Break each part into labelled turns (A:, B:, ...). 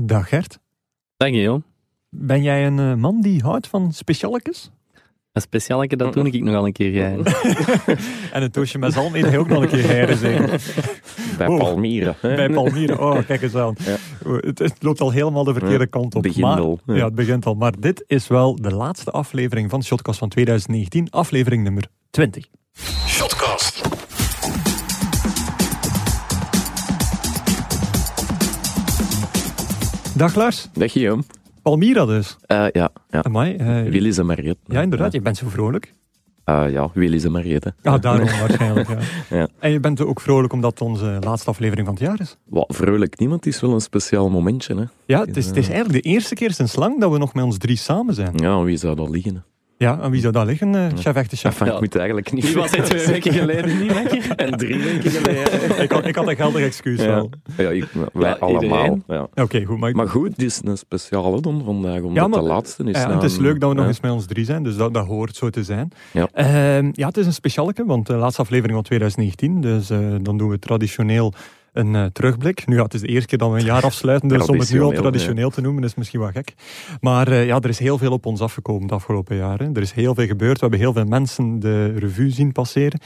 A: Dag Gert.
B: Dag Guillaume.
A: Ben jij een eh, man die houdt van specialletjes?
B: Een speciaalke, dat doe ik nogal een keer. jij.
A: En het doosje met zalm eet hij ook nog een keer heren, zeker.
C: Bij
A: Oh.
C: Palmyra. hè?
A: Bij Palmyra. Oh, kijk eens aan. Eh,
C: Ja.
A: Het, het loopt al helemaal de verkeerde
C: Ja,
A: kant op.
C: begint
A: maar,
C: al.
A: Ja.
C: Ja.
A: het begint al. Maar dit is wel de laatste aflevering van Shotcast van 2019. Aflevering nummer 20.
D: Shotcast.
A: Dag Lars.
C: Dag Guillaume.
A: Palmyra dus.
C: Eh, ja, ja.
A: Amai. eh,
C: Willy en Mariet.
A: ja, inderdaad. Je bent zo vrolijk.
C: Eh, ja, Willy en Mariet. hè.
A: Ah, daarom waarschijnlijk. Ja.
C: Ja.
A: En je bent ook vrolijk omdat onze laatste aflevering van het jaar is.
C: Wat vrolijk niemand is wel een speciaal momentje. Hè?
A: Ja, het is, het is eigenlijk de eerste keer sinds lang dat we nog met ons drie samen zijn.
C: Ja, wie zou dat liggen? hè?
A: Ja, en wie zou daar liggen? eh, chef echte chef.
C: Enfin,
B: Ja.
C: ik moet eigenlijk niet...
B: Die was het twee weken geleden niet lekker.
C: en drie weken geleden.
A: ik, had, ik had een geldig excuus
C: Ja,
A: wel.
C: ja ik, wij
B: Ja,
C: allemaal.
B: iedereen.
C: Ja.
A: Oké, goed. Maar,
C: Maar goed, dit is een speciale dan vandaag, omdat
A: Ja, maar-
C: de laatste is.
A: ja,
C: na
A: het is
C: een-
A: leuk dat we nog
C: ja.
A: eens met ons drie zijn, dus dat, dat hoort zo te zijn.
C: Ja.
A: Ehm, ja, het is een specialke, want de laatste aflevering van 2019, dus eh, dan doen we traditioneel een eh, terugblik. Nu, ja, het is de eerste keer dat we een jaar afsluiten, dus om het nu al
C: Traditioneel,
A: traditioneel te noemen is misschien wel gek. Maar eh, ja, er is heel veel op ons afgekomen het afgelopen jaar. Hè. Er is heel veel gebeurd, we hebben heel veel mensen de revue zien passeren.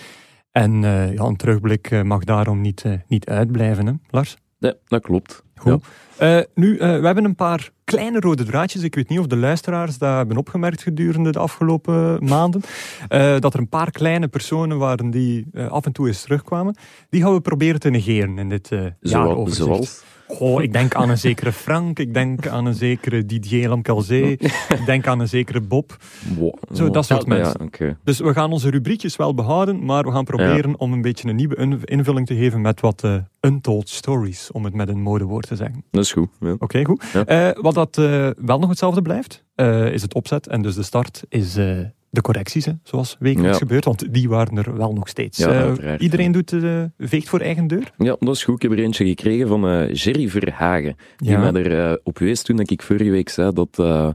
A: En eh, ja, een terugblik eh, mag daarom niet, eh, niet uitblijven, hè, Lars?
C: Nee, dat klopt.
A: Goed. Eh, nu, eh, we hebben een paar kleine rode draadjes. Ik weet niet of de luisteraars dat hebben opgemerkt gedurende de afgelopen maanden. Eh, dat er een paar kleine personen waren die eh, af en toe eens terugkwamen. Die gaan we proberen te negeren in dit eh
C: Zoals-
A: jaaroverzicht.
C: zoals?
A: Goh, ik denk aan een zekere Frank, ik denk aan een zekere Didier Lamcalzé, ik denk aan een zekere Bob.
C: Wow.
A: Zo, dat soort
C: Ja,
A: mensen.
C: oké.
A: Dus we gaan onze rubriekjes wel behouden, maar we gaan proberen om een beetje een nieuwe inv- invulling te geven met wat eh, untold stories, om het met een modewoord te zeggen.
C: Dat is goed. Ja.
A: Oké, goed.
C: Ja.
A: Eh, wat dat eh, wel nog hetzelfde blijft, eh, is het opzet. En dus de start is eh, de correcties, hè, zoals wekelijks
C: Ja.
A: gebeurt. Want die waren er wel nog steeds.
C: Ja,
A: Eh,
C: uiteraard,
A: iedereen
C: ja.
A: doet, eh, veegt voor eigen deur.
C: Ja, dat is goed. Ik heb er eentje gekregen van eh, Jerry Verhagen. Die
A: Ja.
C: mij er eh, op wees toen dat ik vorige week zei dat eh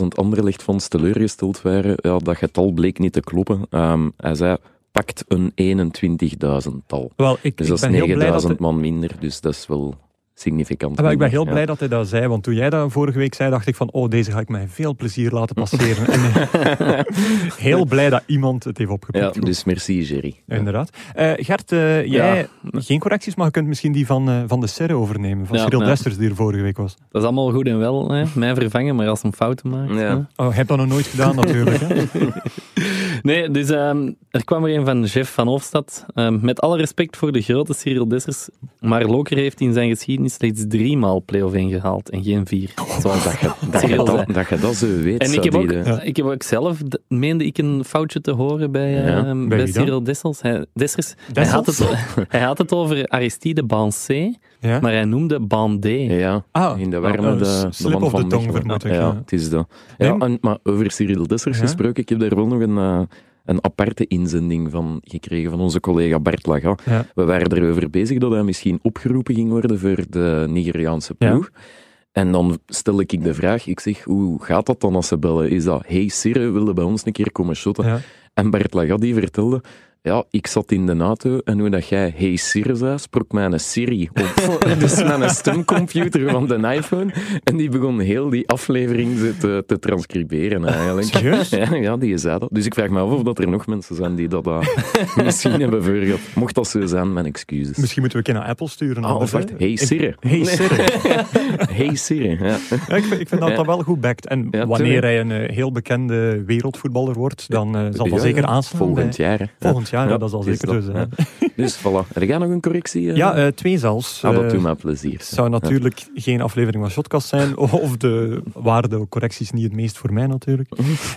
C: 30.000 Anderlecht-fans teleurgesteld waren. Ja, dat getal bleek niet te kloppen. Ehm, hij zei, pakt een 21.000-tal.
A: Wel, ik, ik
C: Dus dat is
A: ben heel blij dat...
C: 9000
A: hij-
C: man minder, dus dat is wel significant.
A: Ah, wel, ik ben heel
C: minder,
A: blij
C: ja.
A: dat hij dat zei, want toen jij dat vorige week zei, dacht ik van, oh, deze ga ik met veel plezier laten passeren. en, eh, heel blij dat iemand het heeft opgepikt.
C: Ja,
A: Goed,
C: dus merci Jerry.
A: Inderdaad. Eh, Gert, eh, jij, geen correcties, maar je kunt misschien die van, eh, van de Serre overnemen, van
B: Ja,
A: Cyril
B: ja.
A: Desters die er vorige week was.
B: Dat is allemaal goed en wel, hè. mij vervangen, maar als een fout maakt.
C: Ja.
B: hè.
A: Oh, heb dat nog nooit gedaan natuurlijk. Hè?
B: Nee, dus ehm, er kwam er een van Jeff van Hofstad. Ehm, met alle respect voor de grote Cyril Dessers, maar Loker heeft in zijn geschiedenis slechts drie maal play-off 1 gehaald en geen vier. Zoals dat
C: Dat je
B: Cyril zei.
C: dat, dat, je dat zo weet,
B: En ik
C: zou
B: heb, ook,
C: die eh, de-
B: ik heb ook zelf, d- meende ik een foutje te horen bij,
C: Ja.
B: ehm,
A: Bij
B: bij,
A: wie dan?
B: Cyril Dessels. Hij, Dessers. Hij,
A: Dessels?
B: had het, hij had het over Aristide Bancé,
A: Ja?
B: maar hij noemde Bandé.
C: Ja,
A: Ah,
C: in de
A: eh,
C: warme de,
A: slip
C: de man
A: of
C: van
A: de tong,
C: Mechelen.
A: vermoed ik,
C: Ja,
A: ja.
C: het is dat.
A: Nee,
C: Ja,
A: maar-
C: en- maar over Cyril Dessers
A: Ja.
C: gesproken, ik heb daar wel nog een, eh, een aparte inzending van gekregen van onze collega Bert Laga.
A: Ja.
C: We waren erover bezig dat hij misschien opgeroepen ging worden voor de Nigeriaanse
A: Ja.
C: ploeg. En dan stel ik de vraag, ik zeg, hoe gaat dat dan als ze bellen? Is dat, hey Cyril, wil je bij ons een keer komen shotten?
A: Ja.
C: En Bert Lagat die vertelde, ja, ik zat in de auto en hoe dat jij hey Siri zei, sprak mijn Siri op. dus mijn stemcomputer van de iPhone. En die begon heel die aflevering zo te, te transcriberen eigenlijk.
A: Serieus?
C: Ja, ja, die zei dat. Dus ik vraag me af of dat er nog mensen zijn die dat eh, misschien hebben vergehad. Mocht dat zo zijn, mijn excuses.
A: Misschien moeten we een keer naar Apple sturen.
C: Ah,
A: anders,
C: of wacht,
A: hè?
C: hey Siri.
A: Hey Siri.
C: Hey Siri, ja.
A: Ja, ik, vind- ik vind dat
C: Ja.
A: dat wel goed backt. En
C: tuurlijk.
A: wanneer hij een eh, heel bekende wereldvoetballer wordt, dan eh, zal dat
C: Ja,
A: zeker
C: ja.
A: aanslaan.
C: Volgend
A: bij-
C: jaar. hè.
A: Volgend jaar, ja, dat zal
C: is
A: zeker
C: dat,
A: zo zijn.
C: ja. Dus voilà. Heb jij nog een correctie? eh?
A: Ja, eh, twee zelfs.
C: Ah,
A: Eh,
C: dat doet mij plezier.
A: het zou natuurlijk geen aflevering van Shotcast zijn, of de, waren de correcties niet het meest voor mij natuurlijk.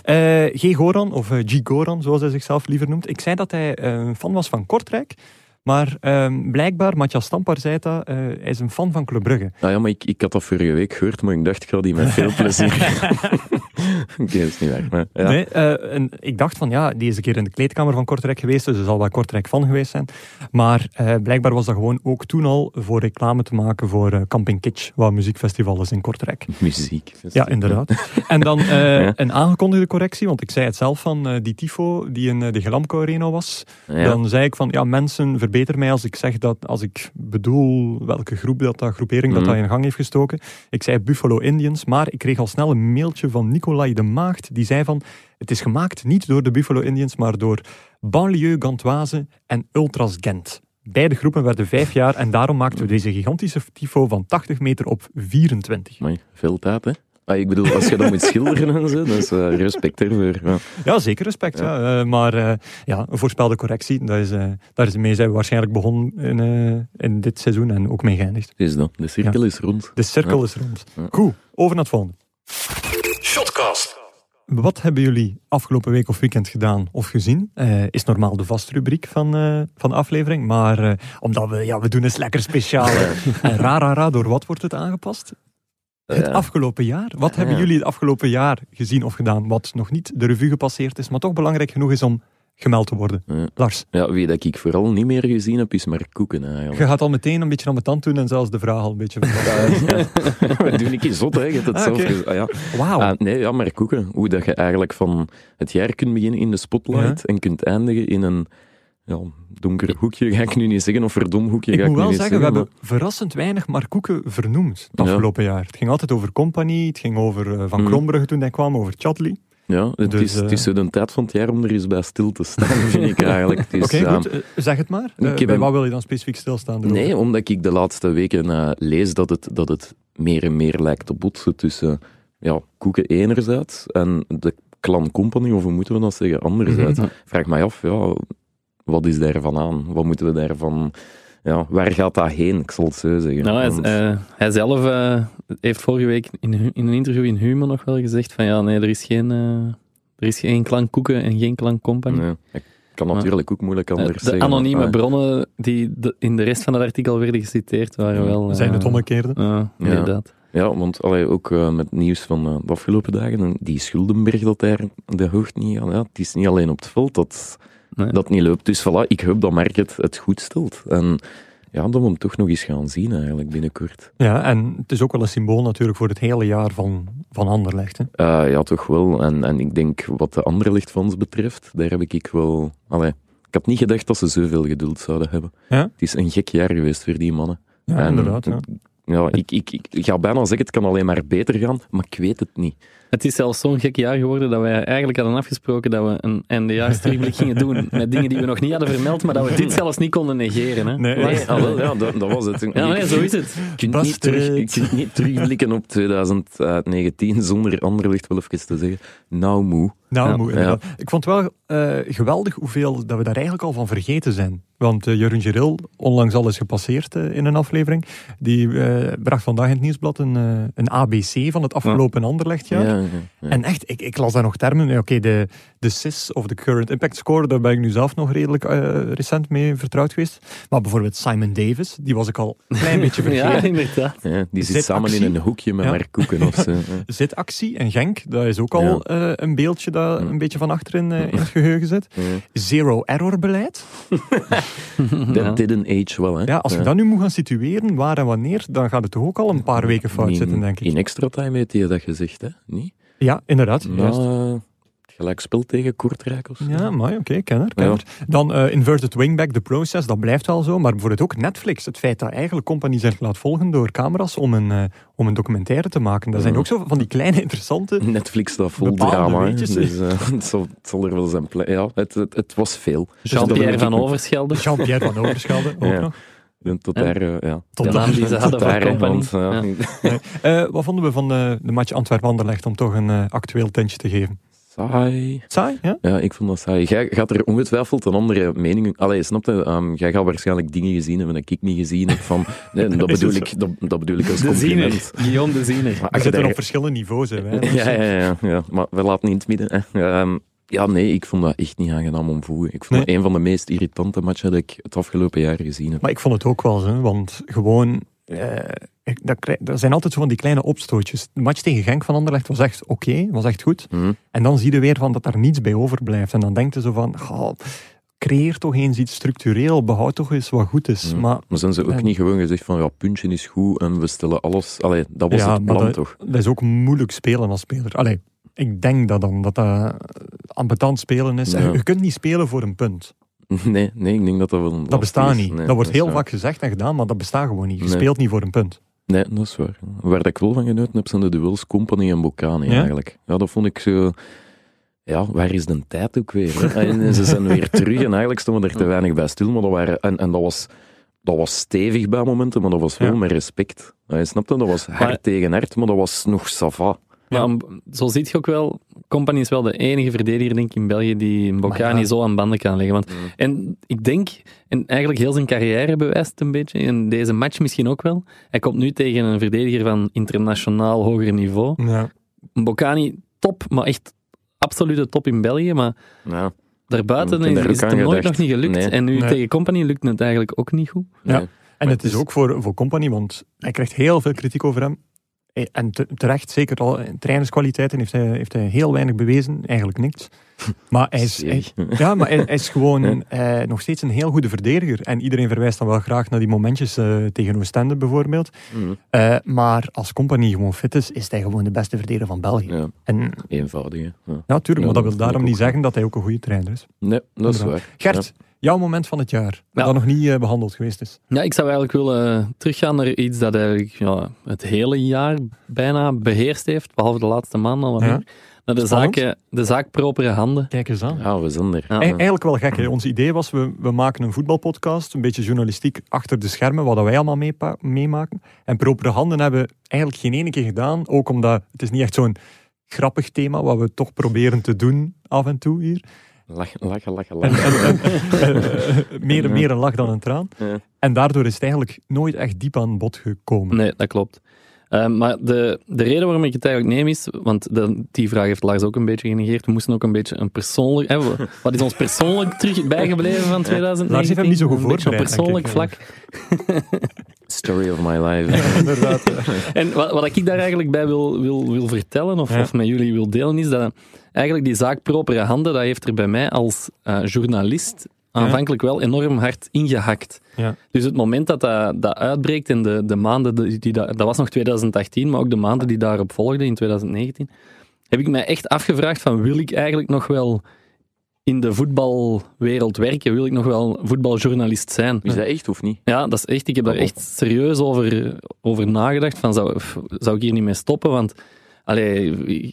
A: Eh, G. Goran, of eh, G. Goran, zoals hij zichzelf liever noemt. Ik zei dat hij eh, een fan was van Kortrijk, maar ehm, blijkbaar, Matthias Stampar zei dat, eh, hij is een
C: Ah
A: fan van Club Brugge.
C: Nou ja, maar ik, ik had dat vorige week gehoord, maar ik dacht, ik ga die met veel plezier. Oké, dat is niet waar. maar ja.
A: Nee, eh, en ik dacht van ja, die is een keer in de kleedkamer van Kortrijk geweest, dus er zal wel Kortrijk van geweest zijn. Maar eh, blijkbaar was dat gewoon ook toen al voor reclame te maken voor eh, Camping Kitsch, wat een muziekfestival is in Kortrijk.
C: Muziek.
A: Ja, inderdaad. En dan eh,
C: Ja.
A: een aangekondigde correctie, want ik zei het zelf van eh, die tifo die in eh, de Gelamco Arena was.
C: Ja.
A: Dan zei ik van, ja mensen, verbeter mij als ik zeg dat, als ik bedoel welke groep dat, dat groepering dat,
C: Mhm.
A: dat in gang heeft gestoken. Ik zei Buffalo Indians, maar ik kreeg al snel een mailtje van Nicolai de Maagd, die zei van, het is gemaakt niet door de Buffalo Indians, maar door Banlieue Gantoise en Ultras Gent. Beide groepen werden vijf jaar en daarom maakten we deze gigantische tifo van 80 meter op 24.
C: Amai, veel tijd, hè? Ah, ik bedoel, als je dat moet schilderen en zo, dan is eh, respect ervoor. Ja.
A: Ja, zeker respect. Ja. Eh, maar eh, ja, een voorspelde correctie, dat is, eh, daar is mee zijn we waarschijnlijk begonnen in, eh, in dit seizoen en ook mee geëindigd.
C: Dus dan, de cirkel is rond.
A: De cirkel is rond. Goed, over naar het volgende. Shotcast. Wat hebben jullie afgelopen week of weekend gedaan of gezien? Eh, is normaal de vaste rubriek van, eh, van de aflevering. Maar eh, omdat we, ja, we doen eens lekker speciaal. hè. Eh, en ra, ra, ra, door wat wordt het aangepast? Het
C: Ja.
A: afgelopen jaar. Wat hebben
C: Eh. ja.
A: jullie het afgelopen jaar gezien of gedaan? Wat nog niet de revue gepasseerd is, maar toch belangrijk genoeg is om gemeld te worden.
C: Ja.
A: Lars,
C: Ja, wie dat ik vooral niet meer gezien heb, is maar koeken eigenlijk.
A: je gaat al meteen een beetje aan mijn tand doen en zelfs de vraag al een beetje van...
C: Wat doe ik hier zot, hè? Je hebt het
A: Ah,
C: zelf
A: oké. Oh.
C: gezegd. Ah, ja.
A: Wauw.
C: Ah, nee, ja, maar koeken. Hoe dat je eigenlijk van het jaar kunt beginnen in de spotlight en kunt eindigen in een ja, donker hoekje, ga ik nu niet zeggen, of verdom hoekje, ga
A: Ik
C: ik
A: moet
C: nu
A: wel
C: niet
A: zeggen, we
C: maar-
A: hebben verrassend weinig Markoeken vernoemd het
C: Ja.
A: afgelopen jaar. Het ging altijd over Compagnie, het ging over eh, Van
C: Mm.
A: Krombrugge toen hij kwam, over Chatley.
C: Ja, het,
A: Dus,
C: is, het
A: eh,
C: is zo de tijd van het jaar om er eens bij stil te staan, vind ik eigenlijk. Het is,
A: Oké,
C: ja,
A: goed, eh, zeg het maar. Eh,
C: ik heb
A: bij
C: hem-
A: wat wil je dan specifiek stilstaan? erover?
C: Nee, omdat ik de laatste weken eh, lees dat het, dat het meer en meer lijkt te botsen tussen ja, koeken enerzijds en de clan company, of hoe moeten we dat zeggen, anderzijds.
B: Mhm.
C: Vraag mij af, ja, wat is daarvan aan? Wat moeten we daarvan... Ja, waar gaat dat heen? Ik zal het zo zeggen.
B: Nou, hij,
C: Want-
B: eh, hij zelf eh, heeft vorige week in, hu- in een interview in Human nog wel gezegd van ja, nee, er is geen, eh er is geen klank koeken en geen klank company.
C: Nee, ik kan natuurlijk ook moeilijk
B: Eh,
C: anders
B: de
C: zeggen.
B: anonieme
C: Ah,
B: bronnen die de- in de rest van het artikel werden geciteerd waren wel... eh,
A: Zijn het omgekeerde?
B: Ja, inderdaad.
C: Ja, want allee, ook eh, met het nieuws van eh, de afgelopen dagen, en die Schuldenberg dat daar, dat hoort niet aan. Ja, het is niet alleen op het veld dat
B: Nee.
C: dat niet loopt. Dus voilà, ik hoop dat Mark het, het goed stelt. En ja, dat we hem toch nog eens gaan zien eigenlijk binnenkort.
A: Ja, en het is ook wel een symbool natuurlijk voor het hele jaar van, van Anderlecht. Hè?
C: Eh, ja, toch wel. En, en ik denk wat de andere lichtfans betreft, daar heb ik ik wel... Allee, ik had niet gedacht dat ze zoveel geduld zouden hebben.
A: Ja?
C: Het is een gek jaar geweest voor die mannen.
A: Ja,
C: En-
A: inderdaad. Ja.
C: Ja, ik, ik, ik, ik ga bijna zeggen, het kan alleen maar beter gaan, maar ik weet het niet.
B: Het is zelfs zo'n gek jaar geworden dat wij eigenlijk hadden afgesproken dat we een eindejaarsterugblik gingen doen met dingen die we nog niet hadden vermeld, maar dat we dit zelfs niet konden negeren. Hè.
A: Nee,
B: Lars?
A: echt.
C: ah, wel, ja, dat, dat was het.
B: Ja, nee, zo is het.
C: Je kunt,
A: Bas
C: niet terug, je
A: Terug.
C: kunt niet terugblikken op 2019 zonder Anderlicht wel even te zeggen, nou moe.
A: Nou,
B: Ja,
A: moe, inderdaad. Ik vond wel eh, geweldig hoeveel dat we daar eigenlijk al van vergeten zijn. Want eh Jeroen Geril, onlangs al is gepasseerd eh, in een aflevering, die eh, bracht vandaag in het nieuwsblad een, eh, een ABC van het afgelopen Anderlechtjaar.
C: ja, ja.
A: En echt, ik, ik las daar nog termen. Ja, Oké, de, de CIS of de Current Impact Score, daar ben ik nu zelf nog redelijk eh, recent mee vertrouwd geweest. Maar bijvoorbeeld Simon Davis, die was ik al een klein beetje vergeten.
B: Ja, inderdaad.
C: Ja, die zit
A: Zit
C: samen
A: actie?
C: in een hoekje met
A: Ja.
C: Mark Koeken of zo. Ja.
A: Zitactie en Genk, dat is ook al eh, een beeldje dat een beetje van achterin eh, in het geheugen zit. Zero error beleid.
C: Dat didn't age wel, hè?
A: Mhm. Ja,
B: eh?
A: als je dat nu moet gaan situeren, waar en wanneer, dan gaat het toch ook al een paar weken fout
C: In-
A: zitten, denk ik.
C: In extra time heeft hij dat gezegd, hè? Niet?
A: Ja, inderdaad.
C: Nou,
A: juist.
C: eh, gelijk speelt tegen Kortrijk of zo.
A: Ja, maar oké, kenner, kenner. Dan eh, Inverted Wingback, The Process, dat blijft wel zo. Maar bijvoorbeeld ook Netflix, het feit dat eigenlijk company zich laat volgen door camera's om een, eh, om een documentaire te maken. Dat zijn ook zo van die kleine interessante...
C: Netflix staat vol
A: Bepaalde
C: drama, hè.
A: weetjes,
C: dus
A: hè.
C: eh, het, zal, het zal er wel zijn plek. Ja, het, het, het was veel.
B: Jean-Pierre van Overschelde.
A: Dus Jean-Pierre van Overschelde, ook
C: Ja.
A: nog.
C: Tot daar, eh, ja.
A: Tot
B: De
A: daar.
B: naam die ze hadden
C: Tot
B: van
C: daar, hè,
B: company.
C: want, ja.
B: Ja.
A: Eh, wat vonden we van de, de match Antwerp-Anderlecht, om toch een eh, actueel tintje te geven?
C: Saai.
A: Saai, ja?
C: Ja, ik vond dat saai. Jij gaat er ongetwijfeld een andere mening... Allee, snap je? Ehm, jij gaat waarschijnlijk dingen gezien hebben dat ik niet gezien heb. Van, nee, dat,
A: Is
C: bedoel
A: het
C: ik, dat, dat bedoel ik als
B: De Ziener.
C: compliment.
B: Guillaume de Ziener.
C: Maar
A: We
C: als je
A: zitten
C: daar-
A: op verschillende niveaus, hè. wij.
C: Ja, ja, ja, ja, maar we laten niet in het midden. hè. Ehm, ja, nee, ik vond dat echt niet aangenaam om voegen. Ik vond dat een van de meest irritante matchen dat ik het afgelopen jaar gezien heb.
A: Maar ik vond het ook wel zo, want gewoon, eh, ik- dat, krij- dat zijn altijd zo van die kleine opstootjes. De match tegen Genk van Anderlecht was echt oké, was echt goed.
C: Hm.
A: En dan zie je weer van dat daar niets bij overblijft. En dan denkt je zo van, "Goh, creëer toch eens iets structureel, behoud toch eens wat goed is.
C: Hm.
A: Maar
C: Maar zijn ze ook
A: En-
C: niet gewoon gezegd van ja, puntje is goed en we stellen alles. Allee, dat was
A: Ja,
C: het
A: maar
C: plan toch?
A: dat is ook moeilijk spelen als speler. Allee, ik denk dat dan, dat dat ambetant spelen is.
C: Ja.
A: Je kunt niet spelen voor een punt.
C: Nee, nee, ik denk dat dat wel. een
A: Dat
C: last
A: bestaat
C: is.
A: niet.
C: Nee,
A: dat wordt
C: is
A: heel
C: waar.
A: vaak gezegd en gedaan, maar dat bestaat gewoon niet. Je
C: Nee.
A: speelt niet voor een punt.
C: Nee, dat is waar. Waar dat ik wel van genoten heb, zijn de duels Company en Bocani
A: Ja?
C: eigenlijk. Ja, dat vond ik zo... Ja, waar is de tijd ook weer? hè? En ze zijn weer terug en eigenlijk stonden we er te weinig bij stil. Maar dat waren, en en dat, was, dat was stevig bij momenten, maar dat was wel
A: Ja.
C: met respect. Ja, Je snapt dat? Dat was hard
B: Maar-
C: tegen hard, maar dat was nog sava.
A: Ja.
B: Maar om- zo ziet je ook wel, Company is wel de enige verdediger denk ik, in België die een Bocani
A: Maar ja.
B: zo aan banden kan leggen. Want, En ik denk, en eigenlijk heel zijn carrière bewijst het een beetje, in deze match misschien ook wel. Hij komt nu tegen een verdediger van internationaal hoger niveau.
A: Ja.
B: Bocani top, maar echt absolute top in België. Maar
C: Ja,
B: daarbuiten
C: Moet je
B: is,
C: daar ook
B: is het
C: aan
B: hem nooit
C: gedacht.
B: nog niet gelukt.
C: Nee.
B: En nu
A: Nee.
B: tegen Company lukt het eigenlijk ook niet goed.
A: Ja.
C: nee.
A: En het is
C: het is-
A: ook voor, voor Company, want hij krijgt heel veel kritiek over hem. En te- terecht, zeker al in trainerskwaliteiten heeft hij, heeft hij heel weinig bewezen, eigenlijk niks. Maar hij is, hij-
C: Zeg.
A: ja, maar hij, hij is gewoon
C: Ja.
A: eh, nog steeds een heel goede verdediger. En iedereen verwijst dan wel graag naar die momentjes eh, tegen Oostende bijvoorbeeld.
C: Mm,
A: Eh, maar als Company gewoon fit is, is hij gewoon de beste verdediger van België.
C: Ja,
A: En ja,
C: eenvoudig. hè. Ja.
A: natuurlijk,
C: Ja,
A: maar dat
C: dat
A: wil
C: vind ik
A: daarom niet
C: ook.
A: zeggen dat hij ook een goede trainer is.
C: Nee, dat is
A: Inderdaad.
C: waar.
A: Gert, jouw moment van het jaar, dat
B: Ja.
A: nog niet eh, behandeld geweest is.
B: Ja, ik zou eigenlijk willen eh, teruggaan naar iets dat eigenlijk ja, het hele jaar bijna beheerst heeft, behalve de laatste maand al wat
A: Ja.
B: meer. Naar de,
A: Spannend.
B: zaak, eh, de zaak propere handen.
A: Kijk eens aan.
C: Ja, Ja, Ah, we zijn er.
B: Ja.
A: Ei- Eigenlijk wel gek. Hè. Ons idee was, we, we maken een voetbalpodcast, een beetje journalistiek achter de schermen, wat dat wij allemaal meepa- meemaken. En propere handen hebben we eigenlijk geen ene keer gedaan, ook omdat het is niet echt zo'n grappig thema, wat we toch proberen te doen af en toe hier.
C: Lachen, lachen, lachen,
A: En,
C: lachen.
A: en, en, eh, meer, meer een lach dan een traan.
C: Ja.
A: En daardoor is het eigenlijk nooit echt diep aan bod gekomen.
B: Nee, dat klopt. Eh, maar de, de reden waarom ik het eigenlijk neem is, want de, die vraag heeft Lars ook een beetje genegeerd, we moesten ook een beetje een persoonlijk... hè, we- wat is ons persoonlijk terug bijgebleven van 2019?
A: Lars heeft hem niet zo goed
B: Een beetje op
A: voorbereid, denk ik, eh.
B: persoonlijk vlak.
C: Story of my life.
A: Inderdaad.
B: En wat, wat ik daar eigenlijk bij wil, wil, wil vertellen, of,
A: Ja.
B: of met jullie wil delen, is dat eh, eigenlijk die zaak propere handen, dat heeft er bij mij als eh, journalist aanvankelijk wel enorm hard ingehakt.
A: Ja.
B: Dus het moment dat dat, dat uitbreekt en de, de maanden, die, die dat, dat was nog 2018, maar ook de maanden die daarop volgden in 2019, heb ik mij echt afgevraagd van wil ik eigenlijk nog wel in de voetbalwereld werken? Wil ik nog wel voetbaljournalist zijn?
C: Is dat echt of niet?
B: Ja, dat is echt. Ik heb daar echt serieus over, over nagedacht. Van, zou, pff, zou ik hier niet mee stoppen? Want allee,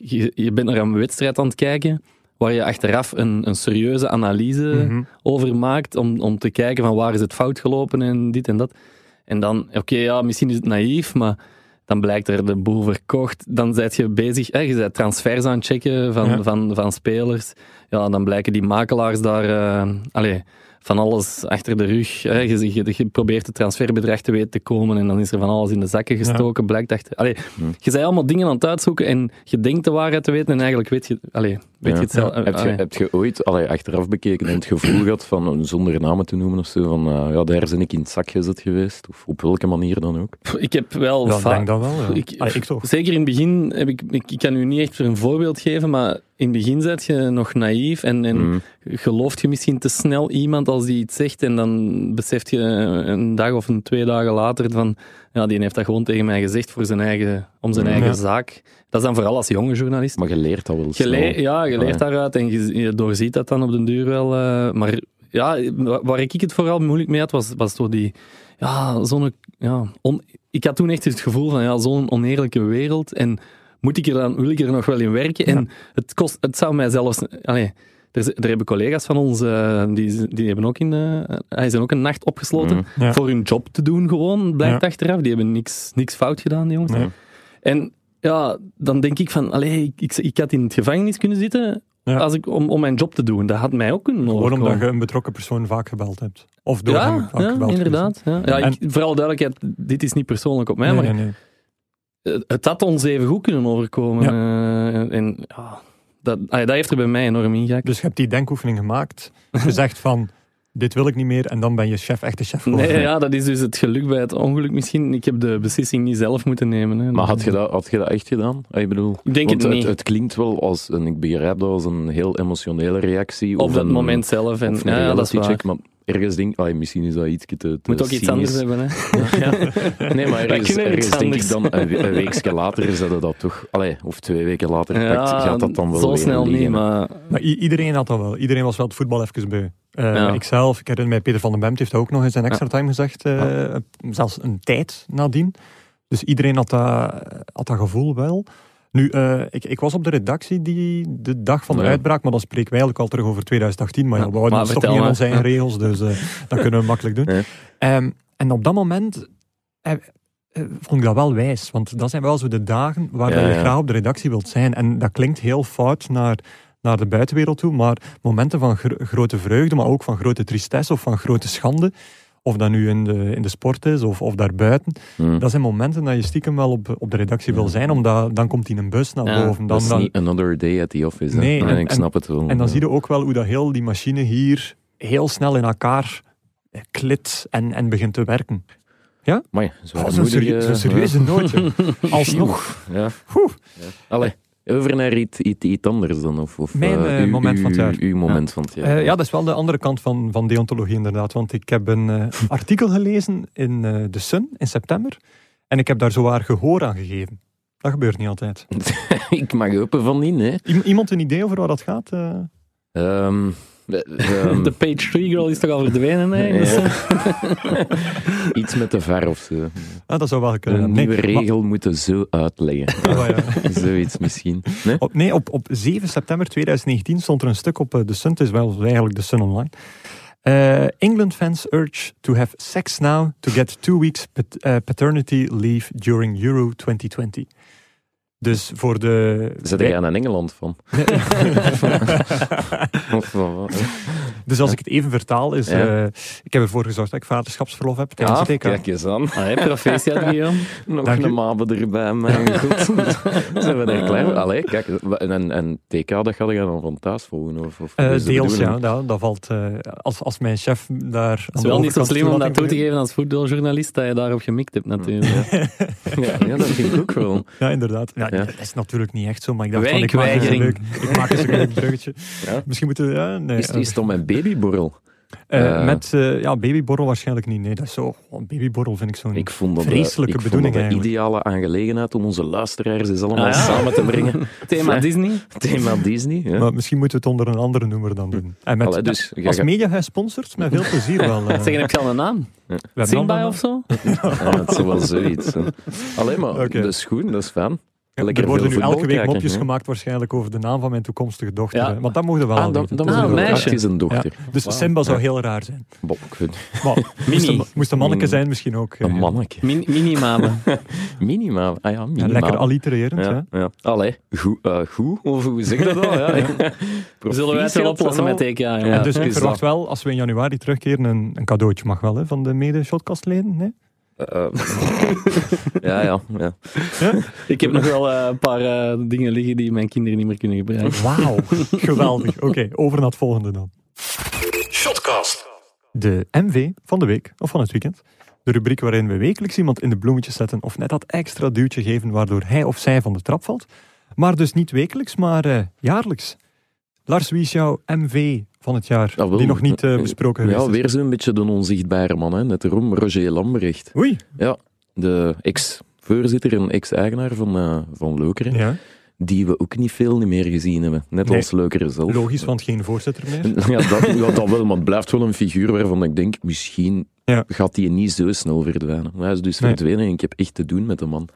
B: je, je bent naar een wedstrijd aan het kijken waar je achteraf een, een serieuze analyse
A: Mhm.
B: over maakt om, om te kijken van waar is het fout gelopen en dit en dat. En dan, oké, ja, misschien is het naïef, maar dan blijkt er de boel verkocht. Dan ben je bezig, hè, je bent transfers aan het checken van,
A: Ja.
B: van, van spelers. Ja, dan blijken die makelaars daar... eh, allee, van alles achter de rug. Hè. Je, je, je probeert het transferbedrag te weten te komen en dan is er van alles in de zakken gestoken. Blijkt achter... Allee, je bent allemaal dingen aan het uitzoeken en je denkt de waarheid te weten en eigenlijk weet je... Allee, weet
C: Ja.
B: je het zelf... eh,
C: Heb je,
B: allee.
C: heb je ooit allee, achteraf bekeken en het gevoel gehad van, zonder namen te noemen of zo, van eh, ja, daar ben ik in het zak gezet geweest? Of op welke manier dan ook?
B: Pff, Ik heb wel...
A: Ja, ik
B: vaak-
A: denk dat wel. Ja.
B: Ik-
A: Allee, ik toch.
B: Zeker in het begin heb ik, ik, ik kan u niet echt een voorbeeld geven, maar in het begin zet je nog naïef en, en
C: Mm.
B: gelooft je misschien te snel iemand als die iets zegt en dan beseft je een dag of een twee dagen later van, ja, die heeft dat gewoon tegen mij gezegd voor zijn eigen, om zijn
C: Mm.
B: eigen
A: Ja.
B: zaak. Dat is dan vooral als jonge journalist.
C: Maar je leert dat wel
B: Je
C: snel.
B: leert- ja, je leert daaruit en je, je doorziet dat dan op den duur wel. eh, maar ja, wa- waar ik het vooral moeilijk mee had, was, was door die... Ja, zo'n... Ja, on- ik had toen echt het gevoel van, ja, zo'n oneerlijke wereld. En moet ik er dan, wil ik er nog wel in werken? En het, kost, het zou mij zelfs... Allee, er, z- er hebben collega's van ons, eh, die, z- die hebben ook in, eh, die zijn ook een nacht opgesloten
A: Mhm. Ja.
B: voor hun job te doen gewoon, blijkt
A: Ja.
B: achteraf. Die hebben niks, niks fout gedaan, die jongens.
A: Nee.
B: En ja, dan denk ik van, allee, ik, ik, ik had in het gevangenis kunnen zitten
A: Ja.
B: als ik, om, om mijn job te doen. Dat had mij ook kunnen
A: Gewoon
B: overkomen.
A: omdat je een betrokken persoon vaak gebeld hebt. Of door hem
B: ja,
A: vaak
B: ja,
A: gebeld geweest
B: inderdaad. Ja. Ja, ik, vooral duidelijkheid, dit is niet persoonlijk op mij,
A: bent.
B: maar
A: Nee, nee, nee.
B: het- het had ons even goed kunnen overkomen.
A: Ja.
B: Eh, en ah ja, dat, allee, dat heeft er bij mij enorm ingehakt.
A: Dus je hebt die denkoefening gemaakt. Je zegt van, dit wil ik niet meer. En dan ben je chef, echte chef. geworden.
B: Nee, ja, dat is dus het geluk bij het ongeluk misschien. Ik heb de beslissing niet zelf moeten nemen. Hè.
C: Maar had je dat, had je dat echt gedaan? Ah, Ik bedoel,
B: Ik denk
C: want
B: het niet.
C: het klinkt wel als, en ik begrijp dat als een heel emotionele reactie.
B: op dat
C: een-
B: moment zelf. En,
C: Of een
B: ja, ja, dat is
C: reality
B: waar.
C: check, maar ergens denk ik, misschien is dat iets te, te
B: Moet ook iets
C: cynisch.
B: anders hebben. Hè.
C: Nee, maar
B: Wij
C: ergens,
B: kunnen
C: ergens
B: niks
C: denk ik
B: anders.
C: dan, een, we- een weekje later is dat dat toch, allee, of twee weken later, pakt,
B: Ja,
C: gaat dat dan wel
B: zo
C: weer
B: snel
C: liggen.
B: niet, maar
A: Maar i- iedereen had dat wel. Iedereen was wel het voetbal even beu. Eh,
B: Ja.
A: Ikzelf, ik herinner mij, Peter van den Bemt heeft dat ook nog in zijn extra time gezegd. eh, Zelfs een tijd nadien. Dus iedereen had dat, had dat gevoel wel. Nu, eh, ik, ik was op de redactie die, de dag van de
C: Ja.
A: uitbraak, maar dan spreken wij eigenlijk al terug over 2018. Maar ja,
B: Ja,
A: we houden
B: maar
A: ons toch
B: vertel
A: niet aan
B: maar.
A: onze eigen regels, dus eh, dat kunnen we makkelijk doen.
C: Ja.
A: Ehm, en op dat moment eh, eh, vond ik dat wel wijs, want dat zijn wel zo de dagen waar
C: Ja,
A: je
C: ja.
A: graag op de redactie wilt zijn. En dat klinkt heel fout naar, naar de buitenwereld toe, maar momenten van gro- grote vreugde, maar ook van grote tristesse of van grote schande, of dat nu in de, in de sport is of, of daarbuiten,
C: Hm.
A: dat zijn momenten dat je stiekem wel op, op de redactie wil
C: Ja.
A: zijn, omdat dan komt die een bus naar
B: Ja,
A: boven.
C: Dat
A: Dan,
C: is
A: dan,
C: niet another day at the office. hè.
A: Nee,
C: en,
A: en-
C: ik snap het wel.
A: en dan
C: ja.
A: zie je ook wel hoe dat heel die machine hier heel snel in elkaar eh, klit en, en begint te werken.
C: Maar ja, zo'n
A: Oh, Zo'n serie-
C: moedige-
A: zo'n serieuze noot. joh. Alsnog.
C: Ja.
A: Oeh.
C: Ja. Allee, over naar iets, iets, iets anders dan? Of, of,
A: Mijn,
C: eh,
A: eh,
C: uw-
A: moment van het
C: uw-
A: jaar.
C: Uw moment van het jaar.
A: Eh, ja, dat is wel de andere kant van, van deontologie inderdaad. Want ik heb een eh, artikel gelezen in eh The Sun in september. En ik heb daar zowaar gehoor aan gegeven. Dat gebeurt niet altijd.
C: ik mag open van in, hè.
A: Iem- iemand een idee over waar dat gaat? Eh,
C: Ehm, eh, ehm,
B: de page 3 girl is toch al verdwenen? Hè? Dus,
C: Ja.
B: eh,
C: iets met de ver of zo.
A: ah, dat zou wel kunnen.
C: Een
A: Nee,
C: nieuwe
A: maar-
C: regel moeten zo uitleggen.
A: Oh, ja.
C: Zoiets misschien. Nee?
A: Op, nee, op, op 7 september 2019 stond er een stuk op eh, The Sun. Het is wel eigenlijk The Sun Online. Eh, England fans urge to have sex now to get two weeks pat- eh, paternity leave during Euro 2020. Dus voor de...
C: Zet jij aan Engeland van? Of van wat?
A: Dus als ik het even vertaal, is...
C: Ja.
A: eh, ik heb ervoor gezorgd dat ik vaderschapsverlof heb tijdens het
C: Ah,
A: EK.
C: kijk eens aan.
B: Allee, proficiat, Guillaume.
C: Nog
A: Dank u.
C: een mabe erbij, mijn god. Zijn we daar klaar voor? Allee, kijk. En, en TK, dat ga je dan van thuis volgen? Of, of
A: Eh,
C: dus de
A: deels, ja.
C: bedoeling-
A: Dat, dat valt... eh, als, als mijn chef daar... aan
B: Het is
A: de
B: wel niet zo
A: overkant
B: slim om dat
A: toelating
B: toe te
A: geeft.
B: geven als voetbaljournalist dat je daarop gemikt hebt, natuurlijk. Ah,
C: Ja, ja, dat vind ik ook wel.
A: Ja, inderdaad. Ja,
C: Ja.
A: Dat is natuurlijk niet echt zo, maar ik dacht van, ik maak eens een
B: Werkweigering.
A: leuk, ik maak eens een leuk bruggetje.
C: Ja.
A: Misschien moeten we... Ja, nee,
C: Is, is het om een babyborrel?
A: eh,
C: eh,
A: met eh, ja, babyborrel waarschijnlijk niet. Nee, dat is zo... oh, babyborrel vind ik zo'n...
C: Ik vond dat eh,
A: Vreselijke
C: ik vond
A: bedoeling
C: dat een
A: eigenlijk.
C: ideale aangelegenheid om onze luisteraars eens allemaal
B: Ah, ja.
C: samen te brengen.
B: Thema Disney.
C: Thema Disney. Ja.
A: Maar misschien moeten we het onder een andere noemer dan doen. En met,
C: Allee, dus, jij
A: als
C: gaat-
A: mediahuis sponsort, met veel plezier wel. eh.
B: Zeg, heb je al een naam?
A: We hebben
B: Zingbaai
A: al-
B: of zo?
C: Ja, Ah, het is wel zoiets. hè. Allee, maar
A: Oké.
C: dat is goed, dat is fijn.
A: Ja,
C: Lekker
A: er worden
C: veel
A: nu elke
C: voetbal
A: week
C: kijken,
A: mopjes
C: hè.
A: gemaakt waarschijnlijk over de naam van mijn toekomstige dochter.
B: Ja.
A: hè. Want dat mogen we wel
C: Ah, dan,
A: weten.
C: dan
A: Dat
C: moet
A: is
C: je
B: een
A: wel-
C: wel-
B: meisje.
C: Het is een dochter.
A: Dus
B: Wauw.
A: Simba zou heel raar zijn.
C: Bon, ik weet-
A: Maar moest een, moest een manneke zijn misschien ook. eh,
C: een mannetje.
B: Min Minimaal.
C: Minimaal. Ah ja,
A: ja,
C: minimaal.
A: lekker allitererend. hè.
C: Ja, ja. Allee, goed, eh, goed, of hoe zeg je dat al? Ja,
B: Zullen wij het wel oplossen met TK? Ja,
C: Ja,
A: Dus
C: het
A: ik
C: is
A: verwacht wel, als we in januari terugkeren, een, een cadeautje mag wel hè, van de mede-shotkastleden. Nee?
C: Eh, ja, ja, ja.
B: Ik heb nog wel eh, een paar eh, dingen liggen die mijn kinderen niet meer kunnen gebruiken.
A: Wauw, geweldig. Oké, over naar het volgende dan. Shotcast. De MV van de week of van het weekend. De rubriek waarin we wekelijks iemand in de bloemetjes zetten of net dat extra duwtje geven waardoor hij of zij van de trap valt. Maar dus niet wekelijks, maar eh, jaarlijks. Lars, wie is jouw MV van het jaar
C: Ah, wel.
A: die nog niet eh, besproken geweest
C: Ja,
A: is?
C: weer zo'n beetje de onzichtbare man, hè. net erom, Roger Lambrecht.
A: Oei.
C: De ex-voorzitter en ex-eigenaar van, eh, van Lokeren,
A: Ja,
C: die we ook niet veel niet meer gezien hebben. Net
A: Nee.
C: als Lokeren zelf.
A: logisch, want geen voorzitter meer.
C: Ja dat, ja, dat wel, maar het blijft wel een figuur waarvan ik denk, misschien
A: Ja.
C: gaat hij niet zo snel verdwijnen. Maar hij is dus
A: Nee.
C: verdwenen en ik heb echt te doen met de man.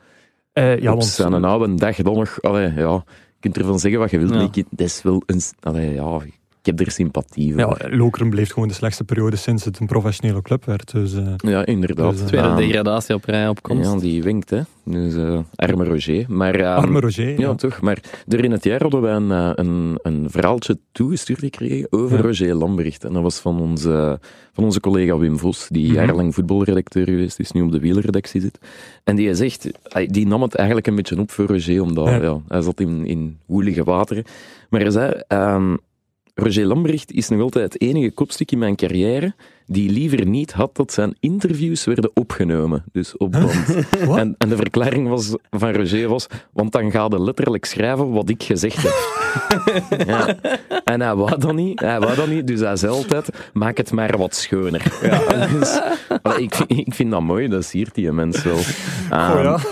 A: Eh, ja,
C: Op
A: want
C: zijn oude dag dan nog, allee, ja, je kunt ervan zeggen wat je wilt,
B: Ja.
C: maar ik, dat is wel een... s- Allee, ja, ik heb er sympathie voor.
A: ja, Lokeren bleef gewoon de slechtste periode sinds het een professionele club werd. Dus, eh,
C: Ja, inderdaad.
A: Dus, eh,
B: Tweede
C: Ah,
B: degradatie op rij op komst.
C: Ja, die winkt, hè. Dus eh, arme Roger. Maar, eh,
A: arme Roger.
C: Ja,
A: ja.
C: toch. Maar er in het jaar hadden wij een, eh, een, een verhaaltje toegestuurd gekregen over
A: Ja.
C: Roger Lambrecht. En dat was van onze, van onze collega Wim Vos, die
A: Mhm.
C: jarenlang voetbalredacteur geweest is, nu op de wielerredactie zit. En die zegt, hij- die nam het eigenlijk een beetje op voor Roger, omdat
A: Ja.
C: ja. hij zat in, in woelige wateren. Maar hij zei, ehm, Roger Lambrecht is nog altijd het enige kopstuk in mijn carrière die liever niet had dat zijn interviews werden opgenomen. Dus op band.
A: Wat?
C: en, en de verklaring was, van Roger was, want dan ga je letterlijk schrijven wat ik gezegd heb. ja. En hij wou dat niet, hij wou dat niet, dus hij zei altijd, maak het maar wat schoner. Ja, dus, allee, ik, vind- ik vind dat mooi, dat siert die mens wel.
A: Oh, ja.
C: Ehm,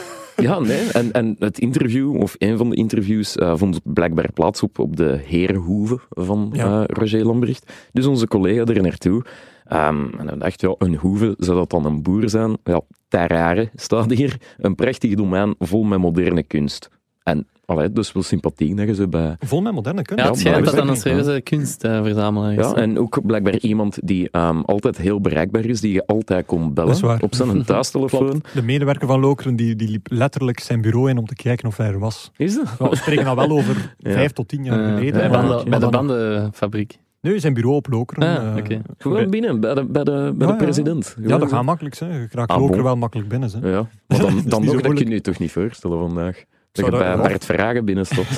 C: ja, nee. En, en het interview, of een van de interviews, eh, vond blijkbaar plaats op, op de Heerhoeve van
A: Ja.
C: eh, Roger Lambrecht. Dus onze collega er naartoe. Ehm, en dan dacht ja, een hoeve, zou dat dan een boer zijn? Ja, Tarare staat hier. Een prachtig domein vol met moderne kunst. En, allee, dus wel sympathiek dat je ze bij...
A: Vol met moderne kunst.
B: Ja, het schijnt dat
C: blijkbaar.
B: dan een serieuze kunstverzamelaar is.
C: Ja, en ook blijkbaar iemand die ehm, altijd heel bereikbaar is, die je altijd kon bellen
A: Dat is waar.
C: op zijn thuistelefoon.
A: Klopt. De medewerker van Lokeren die, die liep letterlijk zijn bureau in om te kijken of hij er was.
C: Is dat?
A: We spreken dan wel over
C: Ja.
A: vijf tot tien jaar
B: Eh,
A: geleden.
B: bij
A: hè,
B: de
A: maar-
B: banden- bij de
A: maar dan-
B: bandenfabriek.
A: Nee, zijn bureau op Lokeren.
B: Ah,
A: eh,
B: oké.
C: Gewoon binnen, bij de, bij de, bij de
A: ja.
C: president.
A: Ja, dat
C: Gewoon-
A: gaat makkelijk. Hè. Je raakt
C: Ah, bon.
A: Lokeren wel makkelijk binnen. Hè.
C: Ja, maar
A: is
C: dan, dan
A: niet zo
C: nog, dat kun
A: moeilijk.
C: je je toch niet voorstellen vandaag. Dat
A: Zou
C: je
A: dat-
C: bij
A: ja.
C: Bart Verhagen binnenstapt.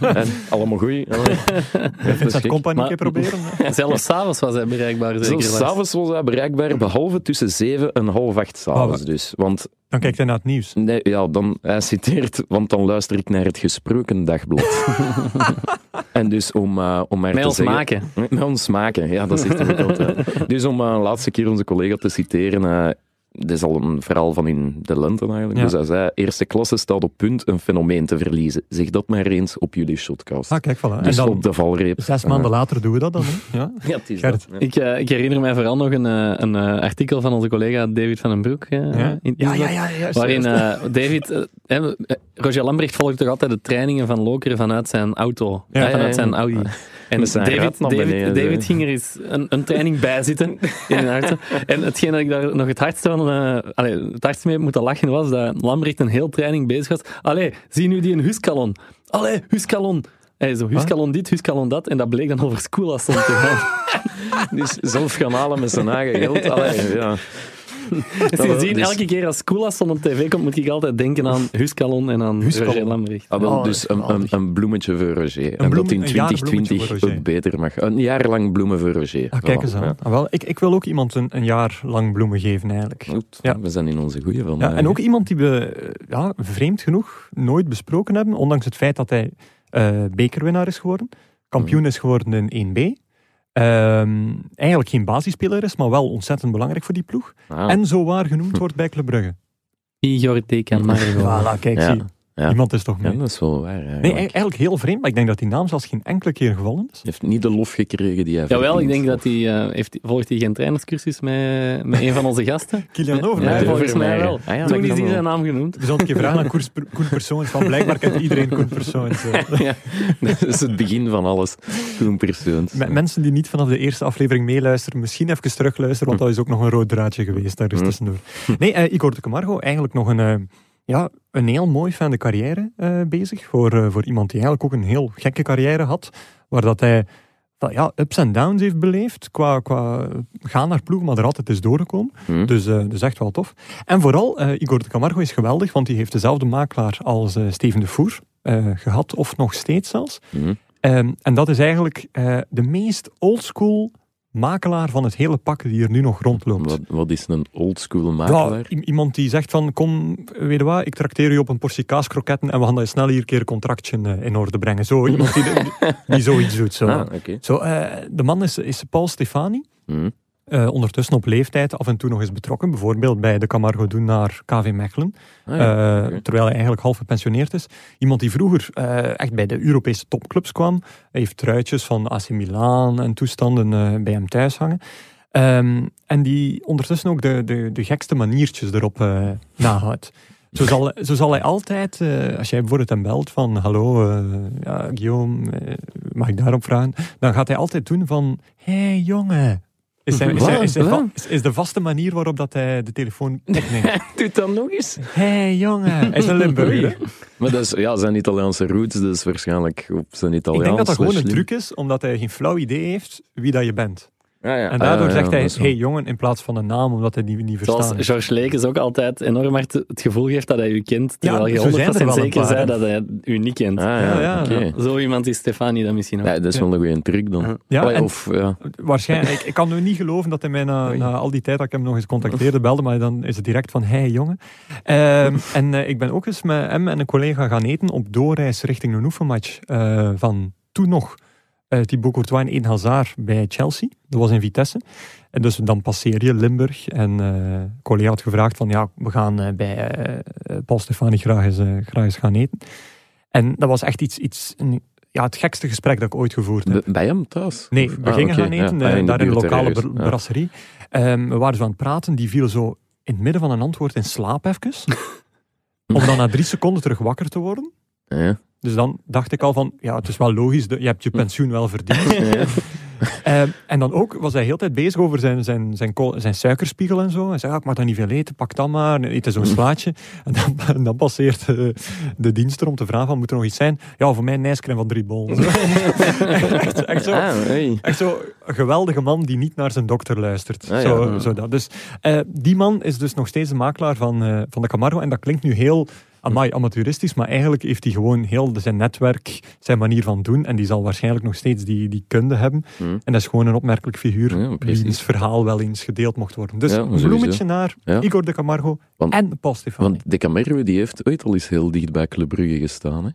C: eh. en allemaal goeie. Allee.
A: Bij Vincent
C: schrik.
A: Company een
B: Maar-
A: keer proberen. hè.
B: Zelfs s'avonds was hij bereikbaar. Zeker
C: Zelfs
B: Lars.
C: s'avonds was hij bereikbaar, behalve tussen zeven en half acht
A: Ah,
C: s'avonds
A: wa-
C: dus. Want
A: Dan kijkt hij naar het nieuws.
C: nee, ja, dan, hij citeert, want dan luister ik naar het gesproken dagblad. en dus om, eh, om maar
B: Met
C: te
B: ons
C: zeggen...
B: maken.
C: Met ons maken, ja, dat zegt hij ook altijd. Dus om eh, een laatste keer onze collega te citeren, eh dit is al een verhaal van in de lente eigenlijk,
A: Ja.
C: dus hij zei, eerste klasse staat op punt een fenomeen te verliezen. Zeg dat maar eens op jullie shotcast.
A: Ah, kijk, voilà. En
C: dus
A: dan
C: op de valreep.
A: zes maanden later doen we dat dan. hè. Ja.
C: Ja, het is
A: Gert.
C: dat, ja.
B: Ik, eh, ik herinner mij vooral nog een, eh, een eh, artikel van onze collega David van den Broek. eh,
A: Ja.
B: in,
A: Ja, ja, ja, juist,
B: waarin
A: juist.
B: eh, David... eh, hè, eh, Roger Lambrecht volgt toch altijd de trainingen van Lokeren vanuit zijn auto.
A: Ja.
B: eh, vanuit
C: Ja, ja,
B: zijn
C: ja.
B: Audi. En
C: Met zijn
B: David,
C: rat naar
B: David,
C: beneden,
B: David
C: zo.
B: ging er eens een, een training bij zitten in een auto. En hetgeen dat ik daar nog het hardst, van, eh, allee, het hardst mee moet lachen was dat Lambrecht een heel training bezig was. Allee, zie nu die een Huskalon. Allee, Huskalon. Hey, zo, Huskalon dit, Huskalon dat. En dat bleek dan over Skoulas te gaan.
C: Dus zelf gaan halen met zijn eigen geld. Allee, ja.
B: Dus Sindsdien,
C: Dus-
B: elke keer als Koelasson op tv komt, moet ik altijd denken aan Huskalon en aan
A: Huskalon.
B: Roger Lambrecht.
C: Ah, wel,
A: Oh,
C: dus
A: dat is
C: een, een,
A: geweldig.
C: een bloemetje voor Roger. en
A: bloem-
C: dat in
A: een jaar bloemetje
C: 2020
A: voor Roger.
C: ook beter mag. Een jaar lang bloemen voor Roger.
A: Ah, kijk eens
C: Voilà,
A: aan.
C: ja.
A: Ah, wel, ik, ik wil ook iemand een, een jaar lang bloemen geven, eigenlijk.
C: Goed,
A: Ja.
C: We zijn in onze goede vandaag.
A: Ja, en ook iemand die we, eh, ja, vreemd genoeg, nooit besproken hebben, ondanks het feit dat hij eh, bekerwinnaar is geworden,
C: Mm.
A: kampioen is geworden in 1B. Ehm, eigenlijk geen basisspeler is, maar wel ontzettend belangrijk voor die ploeg.
C: Ah.
A: En zo waar genoemd wordt bij Club Brugge.
B: Igor Tekan Margo.
A: Voilà, kijk,
C: Ja,
A: zie.
C: ja.
A: Iemand is toch
C: Ja,
A: mee.
C: dat is wel waar.
A: Nee,
C: eigenlijk.
A: e- eigenlijk heel vreemd, maar ik denk dat die naam zelfs geen enkele keer gevallen is.
C: Hij heeft niet de lof gekregen die hij
B: Jawel, ik
C: verdient.
B: denk dat hij... eh, heeft, volgt hij geen trainerscursus met, met een van onze gasten?
A: Kilian
B: Ja,
A: Overmars.
C: ja.
B: volgens mij wel.
C: Ah ja, dat
B: Toen is
C: kan
B: hij
C: wel.
B: zijn naam genoemd.
A: We zullen een keer vragen aan Koers- Koen Persoons, van blijkbaar kent iedereen Koen Persoons. eh.
C: Ja, dat is het begin van alles. Toen persoons.
A: Me- mensen die niet vanaf de eerste aflevering meeluisteren, misschien even terugluisteren, want dat is ook nog een rood draadje geweest daar dus
C: Hm.
A: tussendoor. Nee, eh, Igor de Camargo, eigenlijk nog een, eh, ja, een heel mooi van de carrière eh, bezig. Voor, eh, voor iemand die eigenlijk ook een heel gekke carrière had, waar dat hij dat, ja, ups en downs heeft beleefd qua, qua gaan naar ploeg, maar er altijd is doorgekomen.
C: Hm.
A: Dus, eh, dus echt wel tof. En vooral, eh, Igor de Camargo is geweldig, want die heeft dezelfde makelaar als eh, Steven de Voer eh, gehad, of nog steeds zelfs.
C: Hm.
A: Ehm, en dat is eigenlijk eh, de meest oldschool makelaar van het hele pak die er nu nog rondloopt.
C: Wat, wat is een oldschool
A: Ja,
C: makelaar?
A: i- iemand die zegt van, kom, weet je wat, ik trakteer u op een portie kaaskroketten en we gaan dat snel hier een keer een contractje eh, in orde brengen. Zo, iemand die, die zoiets doet. Zo.
C: Ah, oké.
A: Zo, eh, de man is, is Paul Stefani.
C: Hm.
A: eh, ondertussen op leeftijd af en toe nog eens betrokken. Bijvoorbeeld bij de Camargo Doen naar KV Mechelen.
C: Ah, ja.
A: Eh,
C: oké.
A: Terwijl hij eigenlijk half gepensioneerd is. Iemand die vroeger eh, echt bij de Europese topclubs kwam. Hij heeft truitjes van AC Milan en toestanden eh, bij hem thuis hangen. Ehm, en die ondertussen ook de, de, de gekste maniertjes erop eh, nahoudt. Zo zal, zo zal hij altijd, eh, als jij bijvoorbeeld hem belt van hallo eh, ja, Guillaume, eh, mag ik daarop vragen? Dan gaat hij altijd doen van, hé hey, jongen. Is, zijn, is, zijn- is, zijn va- is- is de vaste manier waarop dat hij de telefoon opneemt.
C: Doe dat nog eens.
A: Hé hey, jongen. Hij is een Limburger. hè?
C: Maar dat is, ja, zijn Italiaanse roots, dus waarschijnlijk op zijn Italiaans.
A: Ik denk dat dat gewoon
C: slash
A: een
C: Lim-
A: truc is, omdat hij geen flauw idee heeft wie dat je bent.
C: Ja, ja.
A: En daardoor
C: Ah, ja,
A: zegt
C: ja,
A: hij,
C: dat is wel-
A: hey jongen, in plaats van een naam, omdat hij die niet verstaat.
B: Zoals George Lekes ook altijd enorm hard het gevoel geeft dat hij u kent, terwijl
A: zo zijn er
B: je 100%
A: wel een
B: zeker
A: paar, hè.
B: zei dat hij u niet kent.
C: Ah, ja,
A: Ja, ja,
C: oké.
A: ja.
B: Zo iemand is Stefani dan misschien ook.
C: Ja, dat is wel een goede truc dan.
A: Ja,
C: Allee,
A: en-
C: of, ja.
A: Waarschijnlijk. Ik- Ik kan nu niet geloven dat hij mij na, na al die tijd dat ik hem nog eens contacteerde belde, maar dan is het direct van, hey jongen. Ehm, en eh, ik ben ook eens met hem en een collega gaan eten op doorreis richting een oefenmatch eh, van toen nog eh Thibaut Courtois en Eden Hazard bij Chelsea. Dat was in Vitesse. En dus dan passeer je Limburg en eh, een collega had gevraagd van, ja, we gaan eh, bij eh, eh, Paul Stefani graag eens, eh, graag eens gaan eten. En dat was echt iets, iets een- ja, het gekste gesprek dat ik ooit gevoerd heb.
C: B- Bij hem thuis?
A: Nee,
C: Of-
A: we
C: ah,
A: gingen
C: oké,
A: gaan eten,
C: ja.
A: eh,
C: Ah, in de
A: daar in een
C: buurt
A: lokale
C: ergens,
A: br-
C: ja.
A: brasserie. Ehm, we waren zo aan het praten, die viel zo in het midden van een antwoord in slaap even. om dan na drie seconden terug wakker te worden.
C: Ja.
A: Dus dan dacht ik al van, ja, het is wel logisch, de- je hebt je pensioen wel verdiend.
C: Ja.
A: Ehm, en dan ook was hij heel de tijd bezig over zijn, zijn, zijn, kool- zijn suikerspiegel en zo. Hij zei, ah, ik mag dat niet veel eten, pak dat maar, eet
C: Mm.
A: er zo'n slaatje. En dan, en dan passeert eh, de dienst er om te vragen van, moet er nog iets zijn? Ja, voor mij een ijscrème van drie bollen. echt, echt zo.
C: Ah, hey.
A: Echt zo'n geweldige man die niet naar zijn dokter luistert.
C: Ah, ja.
A: zo,
C: Ja.
A: zo dat. Dus eh, die man is dus nog steeds de makelaar van, eh, van de Camargo. En dat klinkt nu heel
C: Hmm.
A: amai, amateuristisch, maar eigenlijk heeft hij gewoon heel de- zijn netwerk, zijn manier van doen. En die zal waarschijnlijk nog steeds die, die kunde hebben.
C: Hm.
A: En dat is gewoon een opmerkelijk figuur,
C: Ja, precies.
A: wiens verhaal wel eens gedeeld mocht worden. Dus
C: Ja,
A: een
C: sowieso.
A: bloemetje naar
C: Ja.
A: Igor de Camargo
C: Want-
A: en Paul Stefani.
C: Want De Camerwe die heeft ooit al eens heel dicht bij Club Brugge gestaan. Hè?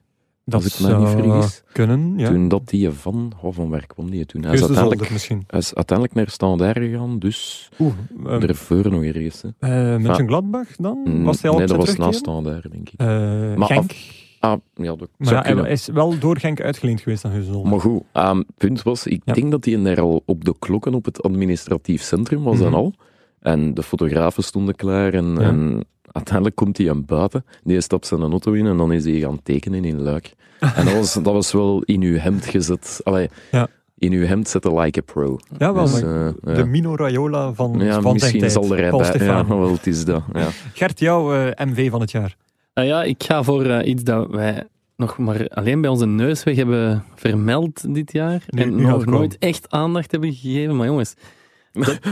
A: dat
C: als ik mij niet
A: zou
C: vergis,
A: kunnen, ja.
C: Toen dat die van, oh, van waar kwam die toen? Hij is,
A: Heus de
C: uiteindelijk,
A: zolder misschien.
C: hij is uiteindelijk naar Standaard gegaan, dus
A: Oeh,
C: um,
A: eh
C: ervoor nog ergens. Hè.
A: met zijn Gladbach dan? Was hij al
C: Ah. Mm, nee,
A: op zijn
C: dat was na
A: terugkeer?
C: Standaard, denk ik.
A: Eh,
C: Maar
A: Genk.
C: Ah, ja, dat
A: Maar
C: zou
A: ja, hij
C: kunnen.
A: is wel door Genk uitgeleend geweest aan Heuzel.
C: Maar goed, ehm, het punt was, ik
A: Ja.
C: denk dat hij daar al op de klokken op het administratief centrum was en
A: Mhm.
C: al. En de fotografen stonden klaar en,
A: Ja.
C: en uiteindelijk komt hij aan buiten. Die stapt zijn auto in en dan is hij gaan tekenen in Luik. En dat was, dat was wel in uw hemd gezet. Allee,
A: Ja.
C: in uw hemd zetten like a pro.
A: Ja, wel.
C: Dus,
A: maar
C: eh, ja.
A: De Mino Raiola van,
C: ja,
A: van zijn
C: misschien
A: tijd.
C: zal er
A: Paul
C: rijden. Ja,
A: Stefani.
C: wel, het is dat. Ja.
A: Gert, jouw eh, MV van het jaar.
B: Nou ja, ik ga voor eh, iets dat wij nog maar alleen bij onze neusweg hebben vermeld dit jaar.
A: Nu- nu
B: en
A: gaat
B: nog
A: het komen.
B: nooit echt aandacht hebben gegeven. Maar jongens,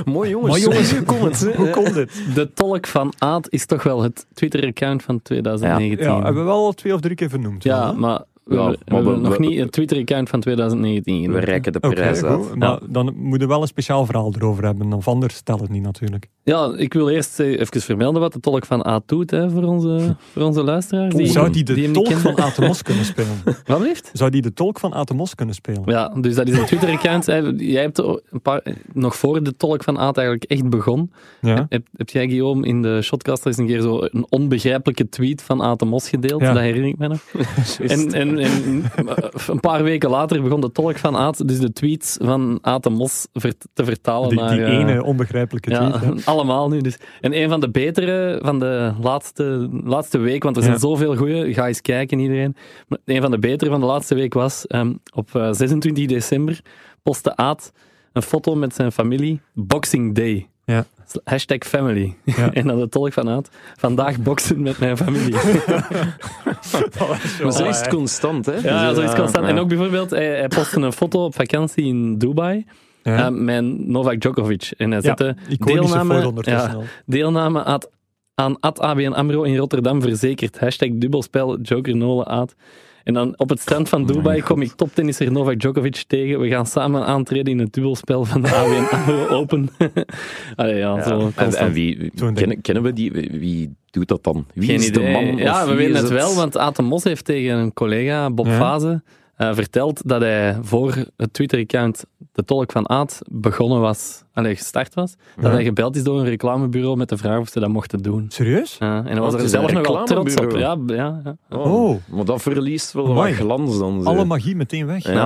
C: Mooi jongens.
A: Maar jongens,
C: hoe komt het?
A: Hoe komt dit?
B: de tolk van Aad is toch wel het Twitter-account van 2019.
A: Ja, hebben we wel al twee of drie keer vernoemd.
B: Ja,
A: wel, hè?
B: maar we,
C: Ja,
B: hebben-
C: maar
B: we
C: we-
B: hebben nog
C: we-
B: niet het Twitter-account van 2019
C: We
B: genoemd.
C: reiken de
A: Oké,
C: prijs
A: goed.
C: uit.
A: Maar dan moeten we wel een speciaal verhaal erover hebben, of anders stel het niet natuurlijk.
B: Ja, ik wil eerst eh, even vermelden wat de tolk van Aad doet hè, voor, onze, voor onze luisteraars.
A: Oeh, zou die de
B: hem niet
A: tolk
B: kennen.
A: van Atemos kunnen spelen?
B: Wat blijft?
A: Zou die de tolk van Atemos kunnen spelen?
B: Ja, dus dat is een Twitter-account. Hè. Jij hebt er een paar, nog voor de tolk van Aad eigenlijk echt begon.
A: Ja.
B: Heb, heb jij, Guillaume, in de Shotcast eens een keer zo een onbegrijpelijke tweet van Atemos gedeeld?
A: Ja.
B: Dat herinner ik me nog. En, en, en eh, een paar weken later begon de tolk van Aad dus de tweets van Atemos ver, te vertalen
A: Die,
B: naar...
A: die
B: eh,
A: ene onbegrijpelijke tweet. hè.
B: ja, allemaal nu. Dus. En een van de betere van de laatste, laatste week, want er zijn
A: Ja.
B: zoveel goeie, ga eens kijken iedereen. Maar een van de betere van de laatste week was, ehm, op eh, 26 december postte Aad een foto met zijn familie, Boxing Day.
A: Ja.
B: Hashtag family.
A: Ja.
B: en dan de tolk van Aad, vandaag boksen met mijn familie.
C: Maar zo
B: Ja,
C: is het
B: hè.
C: constant, hè?
B: ja, zo is het constant.
C: Ja.
B: En ook bijvoorbeeld, hij, hij postte een foto op vakantie in Dubai
A: Ja.
B: eh, met Novak Djokovic. En hij
A: Ja,
B: zette
A: Iconische foto
B: deelname...
A: ondertussen
B: Ja,
A: al.
B: Deelname aan, aan AD ABN AMRO in Rotterdam verzekerd. Hashtag dubbelspel Joker Nolen AD. En dan op het strand
C: Oh
B: van Dubai kom ik toptennisser Novak Djokovic tegen. We gaan samen aantreden in het dubbelspel van de ABN AMRO Open. Allee, ja,
C: Ja.
B: zo
C: En,
B: constant.
C: en wie,
A: Zo'n
C: kennen, kennen we die? Wie- Wie doet dat dan? Wie
B: Geen
C: is de
B: idee.
C: man? of
B: Ja, we
C: wie
B: weten
C: is
B: het wel, want Aad de Mos heeft tegen een collega, Bob
A: Ja.
B: Faze, eh, verteld dat hij voor het Twitter-account De Tolk van Aad begonnen was, allee, gestart was. Dat
A: Ja.
B: hij gebeld is door een reclamebureau met de vraag of ze dat mochten doen.
A: Serieus?
B: Ja, en hij was
C: het
B: er
C: is een
B: zelf nogal trots op. Ja,
C: reclamebureau.
B: ja, ja.
A: Oh.
C: Maar dat verliest wel wat
A: Amai.
C: glans dan. zo.
A: Alle magie meteen weg.
C: eh, Ja.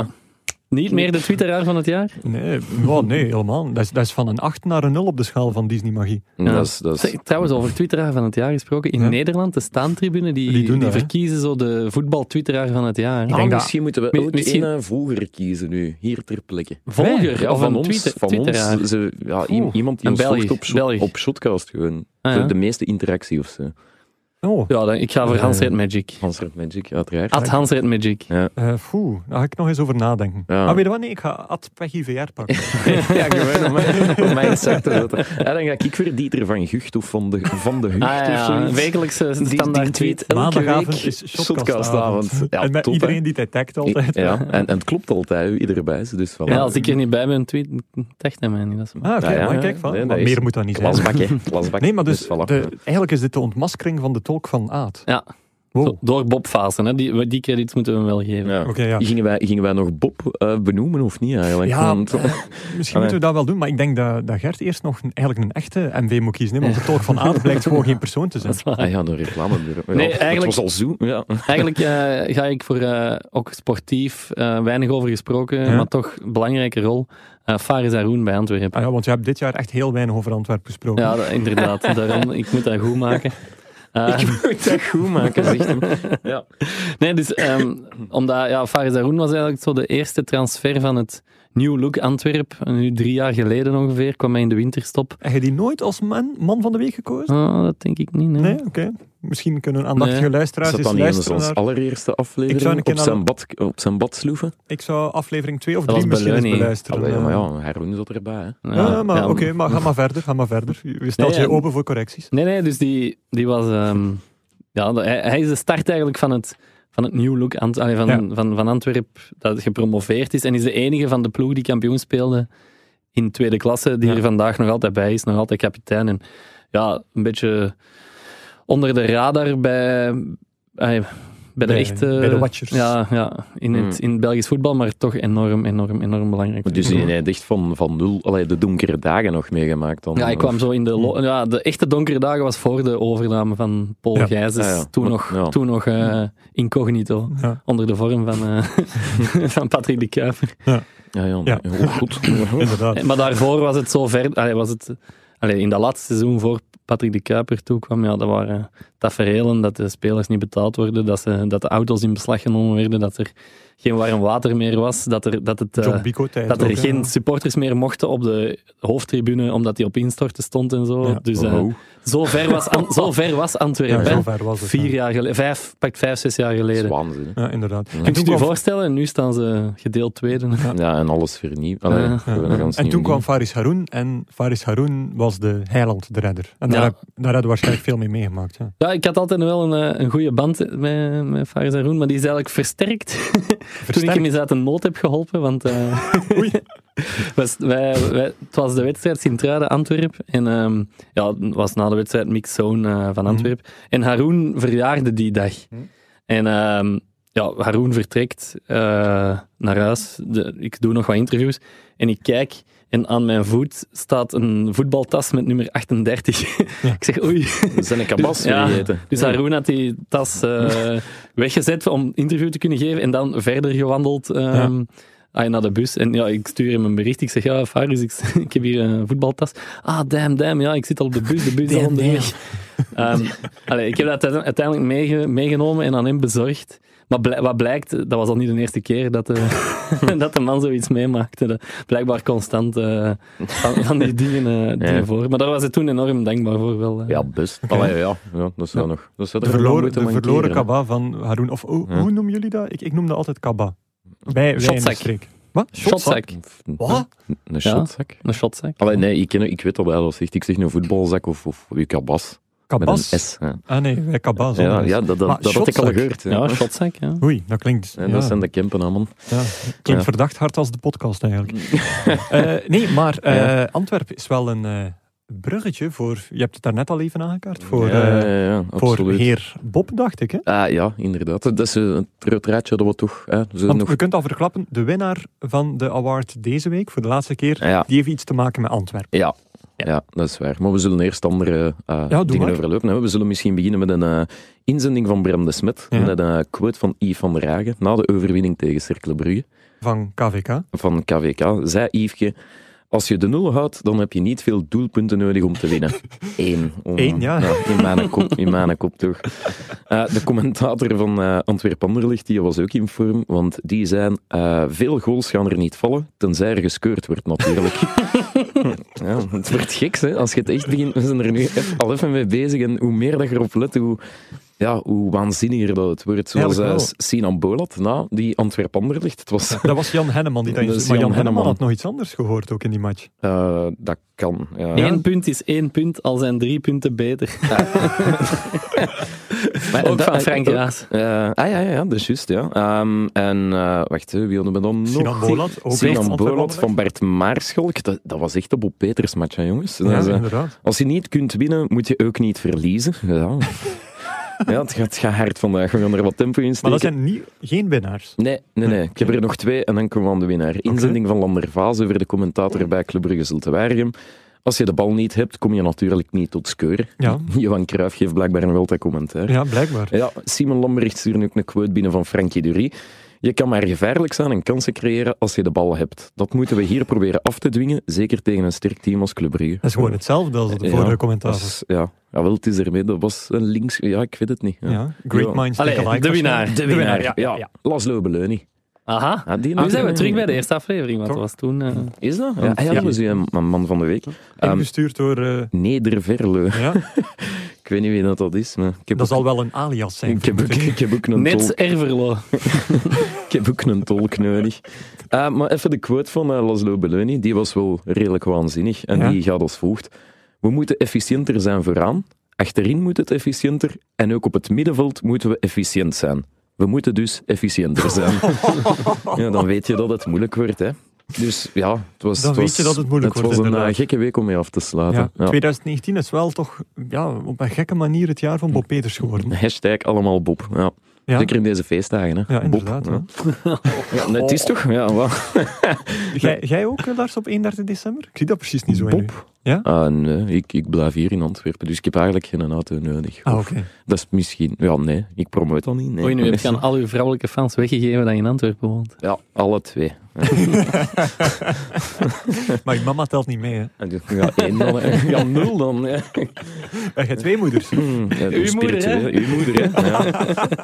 B: Nou, Niet meer de Twitteraar van het jaar?
A: Nee, ja, nee helemaal. Dat is, dat is van een 8 naar een 0 op de schaal van Disney-magie.
C: Ja, Dat is, dat is,
B: Zeg, Trouwens, over Twitteraar van het jaar gesproken. In
A: Ja.
B: Nederland, de staantribune, die,
A: Die
B: die,
A: doen dat, hè?
B: verkiezen zo de voetbal-Twitteraar van het jaar.
C: Ah,
A: denk dat-
C: misschien moeten we
B: Mi-
C: elk
B: misschien-
C: één vroeger kiezen nu, hier ter plekke.
B: Volger
C: Ja,
B: of
C: van
B: een
C: ons,
B: Twitter-
C: van ons
B: Twitteraar.
C: ze- ja, i-
A: Oeh.
C: iemand die
B: Een
C: ons
B: Belg,
C: volgt op, shot,
B: Belg.
C: op Shotcast gewoon.
B: Ah,
C: de,
B: ja.
C: de meeste interactie of zo.
A: Oh,
B: Ja, dan, ik ga voor
C: Ja,
B: Hans
C: ja.
B: Red Magic.
C: Hans Red Magic, uiteraard.
B: Ad Hans Red Magic.
A: eh, foe, daar ga ik nog eens over nadenken.
C: Ja.
A: Ah, weet je wat? Nee, ik ga Ad Peggy VR pakken.
B: Ah,
C: ja, gewoon om mijn, om mijn zak te zetten. Ja, dan ga ik weer Dieter van Gucht of van de, van de Gucht
B: Ah, ja,
C: of zoiets.
B: wekelijkse
C: Die- die
B: standaard tweet.
C: tweet elke
A: Maandagavond
C: week
A: is
C: shotcastavond.
A: shotcastavond.
C: Ja,
A: en met
C: top, hè.
A: iedereen die het tagt altijd.
C: Ja, en, en het klopt altijd, hoe iedereen bij is. Dus voilà.
B: Ja, als ik er niet bij ben, tweet, tagt hij mij niet. Dat is
A: Ah, oké,
C: Ja, ja,
A: maar
C: ja.
A: kijk van.
C: Nee, dat
A: maar
C: is-
A: meer moet dat niet zijn.
C: Klasbak, hè. Klasbak.
A: Nee, maar dus,
C: voilà.
A: de, eigenlijk is dit de ontmaskering van de tolk van Aad.
B: Ja.
C: Oh.
A: Wow.
B: Zo,
A: Oké,
B: Door Bob Fasen, hè. Die, die credits moeten we hem wel geven.
C: Ja.
A: ja.
C: Gingen, wij, gingen wij nog Bob eh, benoemen of niet eigenlijk?
A: Ja,
C: Want-
A: eh, Misschien moeten we dat wel doen, maar ik denk dat, dat Gert eerst nog een- eigenlijk een echte MV moet kiezen. hè, Want de tolk van Aad blijkt gewoon geen persoon te zijn.
C: Ah ja, een reclamebureau. Ja,
B: Nee, eigenlijk-
C: Het was al zo. Ja.
B: Eigenlijk eh, ga ik voor, eh, ook sportief, eh, weinig over gesproken,
A: Ja.
B: maar toch een belangrijke rol. Eh Faris Haroun bij Antwerpen.
A: Ah ja, want je hebt dit jaar echt heel weinig over Antwerpen gesproken.
B: Ja, dat- inderdaad. Daarom, ik moet dat goed maken. Eh,
C: Ik moet dat goed maken, zegt hem. Ja.
B: nee, dus ehm, omdat ja, Faris Haroun was eigenlijk zo de eerste transfer van het New Look Antwerp. Nu drie jaar geleden ongeveer kwam hij in de winterstop.
A: Heb je die nooit als man, man van de week gekozen?
B: Ah, dat denk ik niet. nee.
A: Nee, oké. Misschien kunnen aandachtige
B: Nee.
A: luisteraars
C: Is dat
A: eens
C: dan niet eens
A: luisteren
C: onze
A: naar...
C: allereerste aflevering
A: Ik zou een keer
C: op,
A: naar-
C: zijn bad, op zijn bad sloeven?
A: Ik zou aflevering 2 of
B: Dat
A: 3
B: was
A: misschien eens
B: Beleuning.
A: beluisteren.
C: Allee, ja,
A: eh.
C: maar ja, Heroen zat erbij. Hè.
B: Ja,
A: Ja, Ah, maar
B: ja,
A: oké, maar ga maar verder, ga maar verder. Je stelt
B: Nee,
A: je
B: ja.
A: open voor correcties.
B: Nee, nee, dus die, die was... ehm, ja, de- hij, hij is de start eigenlijk van het, van het New Look Ant allee, van,
A: Ja.
B: van, van Antwerp dat gepromoveerd is. En is de enige van de ploeg die kampioen speelde in tweede klasse, die
A: Ja.
B: er vandaag nog altijd bij is, nog altijd kapitein. En ja, een beetje onder de radar bij... allee, bij de
A: Bij-
B: echte...
A: bij de watchers.
B: Ja, ja in, het, in het Belgisch voetbal, maar toch enorm, enorm, enorm belangrijk.
C: Hmm. Maar Dus
A: Mhm.
C: hij heeft echt van, van nul allee, de donkere dagen nog meegemaakt. Dan,
B: Ja, ik kwam zo in de...
A: Hmm.
B: lo- Ja, de echte donkere dagen was voor de overname van Paul
A: Ja. Hmm.
B: Gijzes.
C: Ja, ja.
B: Toen
C: Ja.
B: nog,
C: Ja.
B: toen nog eh, incognito.
A: Ja.
B: Onder de vorm van, eh, van Patrick de Kuiper.
C: Ja, ja,
A: Ja.
C: heel goed.
A: Inderdaad.
B: Maar daarvoor was het zo ver... Allee, was het, allee, in dat laatste seizoen voor Patrick de Kuiper toekwam, ja, dat waren tafereelen dat de spelers niet betaald worden, dat, ze, dat de auto's in beslag genomen werden, dat er geen warm water meer was, dat, er, dat het... eh,
A: John Bico tijd.
B: dat
A: ook,
B: er
A: hè.
B: geen supporters meer mochten op de hoofdtribune, omdat die op instorten stond en zo.
A: Ja.
B: Dus, eh,
C: Wow.
B: Zo ver was, An- zo ver was
A: Ja,
B: Antwerpen.
A: zo ver was het.
B: eh, Vier
A: ja.
B: jaar geleden, vijf, pakt vijf, zes jaar
C: Dat is
B: geleden.
C: waanzin. hè.
A: Ja, inderdaad. En
B: Kun je
A: toen
B: het je
A: kwam,
B: voorstellen? En nu staan ze gedeeld tweede.
C: Ja, en alles vernieuwd. Allee,
B: Ja.
C: gewoon een gans
A: en
C: nieuw
A: toen kwam
C: ding.
A: Faris Haroun en Faris Haroun was de heiland, de redder. En daar,
B: Ja.
A: heb, daar hadden we waarschijnlijk veel mee meegemaakt. Ja.
B: Ja, ik had altijd wel een, eh, een goede band met, met Faris Haroun, maar die is eigenlijk versterkt, toen ik
A: Versterkt.
B: hem eens uit een nood heb geholpen. Want eh,
A: Oei.
B: was, wij, wij- het was de wedstrijd Sint-Truiden-Antwerp. En ehm, ja, het was na de wedstrijd Mix Zone eh,
A: Mhm.
B: van Antwerp. En Haroun verjaarde die dag. En ehm, ja, Haroun vertrekt eh, naar huis. De- ik doe nog wat interviews. En ik kijk en aan mijn voet staat een voetbaltas met nummer 38. ik zeg oei.
C: Zijn ik kabas
B: Ja.
C: vergeten.
B: Dus Haroun had die tas eh, weggezet om interview te kunnen geven en dan verder gewandeld ehm, ah, naar de bus. En ja, ik stuur hem een bericht. Ik zeg, ja, Faris, ik, ik heb hier een voetbaltas. Ah, damn, damn, ja, ik zit al op de bus, de bus is al
A: Damn,
B: onderweg. Ehm, allee, ik heb dat uite- uiteindelijk meege- meegenomen en aan hem bezorgd. Maar bl- wat blijkt, dat was al niet de eerste keer dat de, dat de man zoiets meemaakte. Dat- blijkbaar constant eh, van, van die dingen, eh, dingen
C: Ja.
B: voor. Maar daar was hij toen enorm dankbaar voor wel. eh.
C: Ja, best. Allee, ja, ja, dat zou nog. Dat zou
A: De
C: er nog
A: verloren,
C: moeten
A: de verloren
C: mankeren, hè.
A: kaba van Haroun. Of oh,
C: Ja.
A: hoe noemen jullie dat? Ik, ik noem dat altijd kaba. Bij wij in de
B: Shotzak.
A: streek. Wat?
B: Shotzak.
A: Wat?
C: Een shotzak?
B: Een shotzak.
C: Allee, nee, ik, ken, ik weet al wel wat zegt. Ik zeg een voetbalzak of, of uw kabas.
A: Kabas?
C: Met een S. Ja,
A: Ah nee, wij kaba. zonder
C: ja,
A: S.
C: ja, dat, dat,
A: Maar
C: dat had ik al
A: shotzak.
C: gehoord. hè.
B: Ja, een shotzak, ja.
A: Oei, dat klinkt...
C: Ja,
A: ja.
C: dat zijn de Kempen, hè, man.
A: Ja, klinkt
C: Ja. Mm.
A: verdacht hard als de podcast eigenlijk. Eh, nee, maar eh, Antwerpen is wel een eh, bruggetje voor... Je hebt het daarnet al even aangekaart. Voor,
C: ja,
A: eh,
C: ja, ja, ja,
A: voor
C: absoluut.
A: heer Bob, dacht ik. Hè?
C: Ah, ja, inderdaad. Dat is eh, het roodruitje dat we toch... Hè, ze
A: Want
C: nog...
A: je kunt al verklappen, de winnaar van de award deze week, voor de laatste keer,
C: Ah, Ja,
A: die heeft iets te maken met Antwerpen.
C: ja. Ja, dat is waar. Maar we zullen eerst andere eh,
A: doe
C: dingen
A: maar.
C: overlopen. hè. We zullen misschien beginnen met een eh, inzending van Bram de Smet.
A: Ja.
C: Met een eh, quote van Yves van der Hagen na de overwinning tegen Cercle Brugge.
A: Van KVK.
C: van KVK, zei Yveske, Als je de nul houdt, dan heb je niet veel doelpunten nodig om te winnen. Eén. Om,
A: Eén, ja.
C: in, mijn kop, in mijn kop toch. Eh, de commentator van eh Antwerpen Anderlicht die was ook in vorm, want die zijn veel goals gaan er niet vallen, tenzij er geskeurd wordt natuurlijk. ja, het wordt gek, hè. Als je het echt begint, we zijn er nu eff- al even mee bezig en hoe meer dat je erop let, hoe, ja, hoe waanzinniger dat het wordt. Zoals
A: Eigenlijk
C: eh,
A: wel.
C: Sinan Bolat, na die Antwerpen Anderlicht. Het was
A: Dat was Jan Henneman die dat
C: Dat is
A: instuurde. Maar
C: Jan
A: Jan Henneman had
C: Henneman.
A: nog iets anders gehoord ook in die match.
C: Eh, dat kan. Ah, Ja.
B: Eén punt is één punt, al zijn drie punten beter.
C: Maar
B: Ook
C: dat-
B: van Frank
C: ook-
B: Raas.
C: eh, ah ja, ja, ja, dat is juist. Ja. Ehm, en eh, wacht, hè, wie hadden we dan nog?
A: Sinan Bolat, ook
C: Sinan
A: echt Antwerpen
C: Bolat
A: Anderlecht.
C: van Bert Maarschalk. Dat, dat was echt de Bob Peters match, hè, jongens. Dat
A: Ja,
C: is, eh,
A: inderdaad.
C: als je niet kunt winnen, moet je ook niet verliezen. Ja, ja het, gaat, het gaat hard vandaag. We gaan er wat tempo in steken.
A: Maar dat zijn niet, geen winnaars.
C: Nee, nee, nee. Ik heb er nog twee en dan komen we aan de winnaar. Inzending van Lander Vaze voor de commentator bij Club Brugge Zulte Waregem. Als je de bal niet hebt, kom je natuurlijk niet tot skeur.
A: Ja.
C: Johan Cruijff geeft blijkbaar een wel dat commentaar.
A: Ja, blijkbaar.
C: Ja, Simon Lambrecht stuurde ook een quote binnen van Frankie Dury. Je kan maar gevaarlijk zijn en kansen creëren als je de bal hebt. Dat moeten we hier proberen af te dwingen, zeker tegen een sterk team als Club Brugge.
A: Dat is gewoon hetzelfde als de
C: Ja,
A: vorige
C: Dat
A: commentaar.
C: is- ja. ja, wel, het is ermee. Dat was een links... Ja, ik weet het niet. Ja.
A: Ja, great
C: Ja.
A: minds
B: Allee,
A: think alike.
B: de winnaar.
C: De winnaar, ja.
A: Ja, ja, ja.
C: Laszlo Beleunie.
B: Aha.
C: Ja,
B: Nu Ah, zijn
C: die
B: we
C: natuurlijk.
B: terug bij de eerste aflevering, want
A: Toch?
B: dat was toen... eh,
C: Is dat?
B: Ja.
C: Ja, ah ja, dat was uw man man van de week. Ehm
A: Ingestuurd door... eh,
C: Nederverle.
A: ja,
C: Ik weet niet wie dat, dat is, maar ik heb,
A: dat zal
C: ook,
A: wel een alias zijn.
C: ik heb, ook,
A: vermoed ik.
C: ik heb ook een
B: Net
C: tolk,
B: Erverlo.
C: ik heb ook een tolk nodig. Ah, maar even de quote van eh, Laszlo Belloni, die was wel redelijk waanzinnig. En
A: Ja.
C: die gaat als volgt. We moeten efficiënter zijn vooraan, achterin moet het efficiënter en ook op het middenveld moeten we efficiënt zijn. We moeten dus efficiënter zijn. ja, dan weet je dat het moeilijk wordt, hè. Dus ja, het was,
A: Dan
C: het
A: weet
C: was-
A: je dat het moeilijk wordt,
C: was een eh,
A: inderdaad.
C: gekke week om mee af te
A: Ja,
C: sluiten. Ja.
A: 2019 is wel toch ja, op een gekke manier het jaar van Bob Peters geworden.
C: Hashtag allemaal Bob. Ja.
A: Ja,
C: Zeker in deze feestdagen. Hè.
A: ja Oh.
C: Bob,
A: inderdaad.
C: ja.
A: hè.
C: Ja, nee, het is toch? Ja, wel.
A: Jij, jij ook, eh, Lars, op 31 december? Ik zie dat precies niet zo in u.
C: Bob?
A: Ja?
C: Ah, nee, ik, ik blijf hier in Antwerpen, dus ik heb eigenlijk geen auto nodig.
A: Ah,
C: Of-
A: oké.
C: Dat is misschien... Ja, nee, ik promoot dat niet. Nee.
B: Oei, nu heb je aan al uw vrouwelijke fans weggegeven dat je in Antwerpen woont.
C: Ja, alle twee.
A: Maar je mama telt niet mee, hè.
C: En dus- Ja, één dan. hè. Ja, nul dan. hè.
A: Eh, Je hebt twee moeders.
C: Hmm, ja,
B: Uw moeder, hè?
C: spiritueel. Uw moeder, hè. Ja.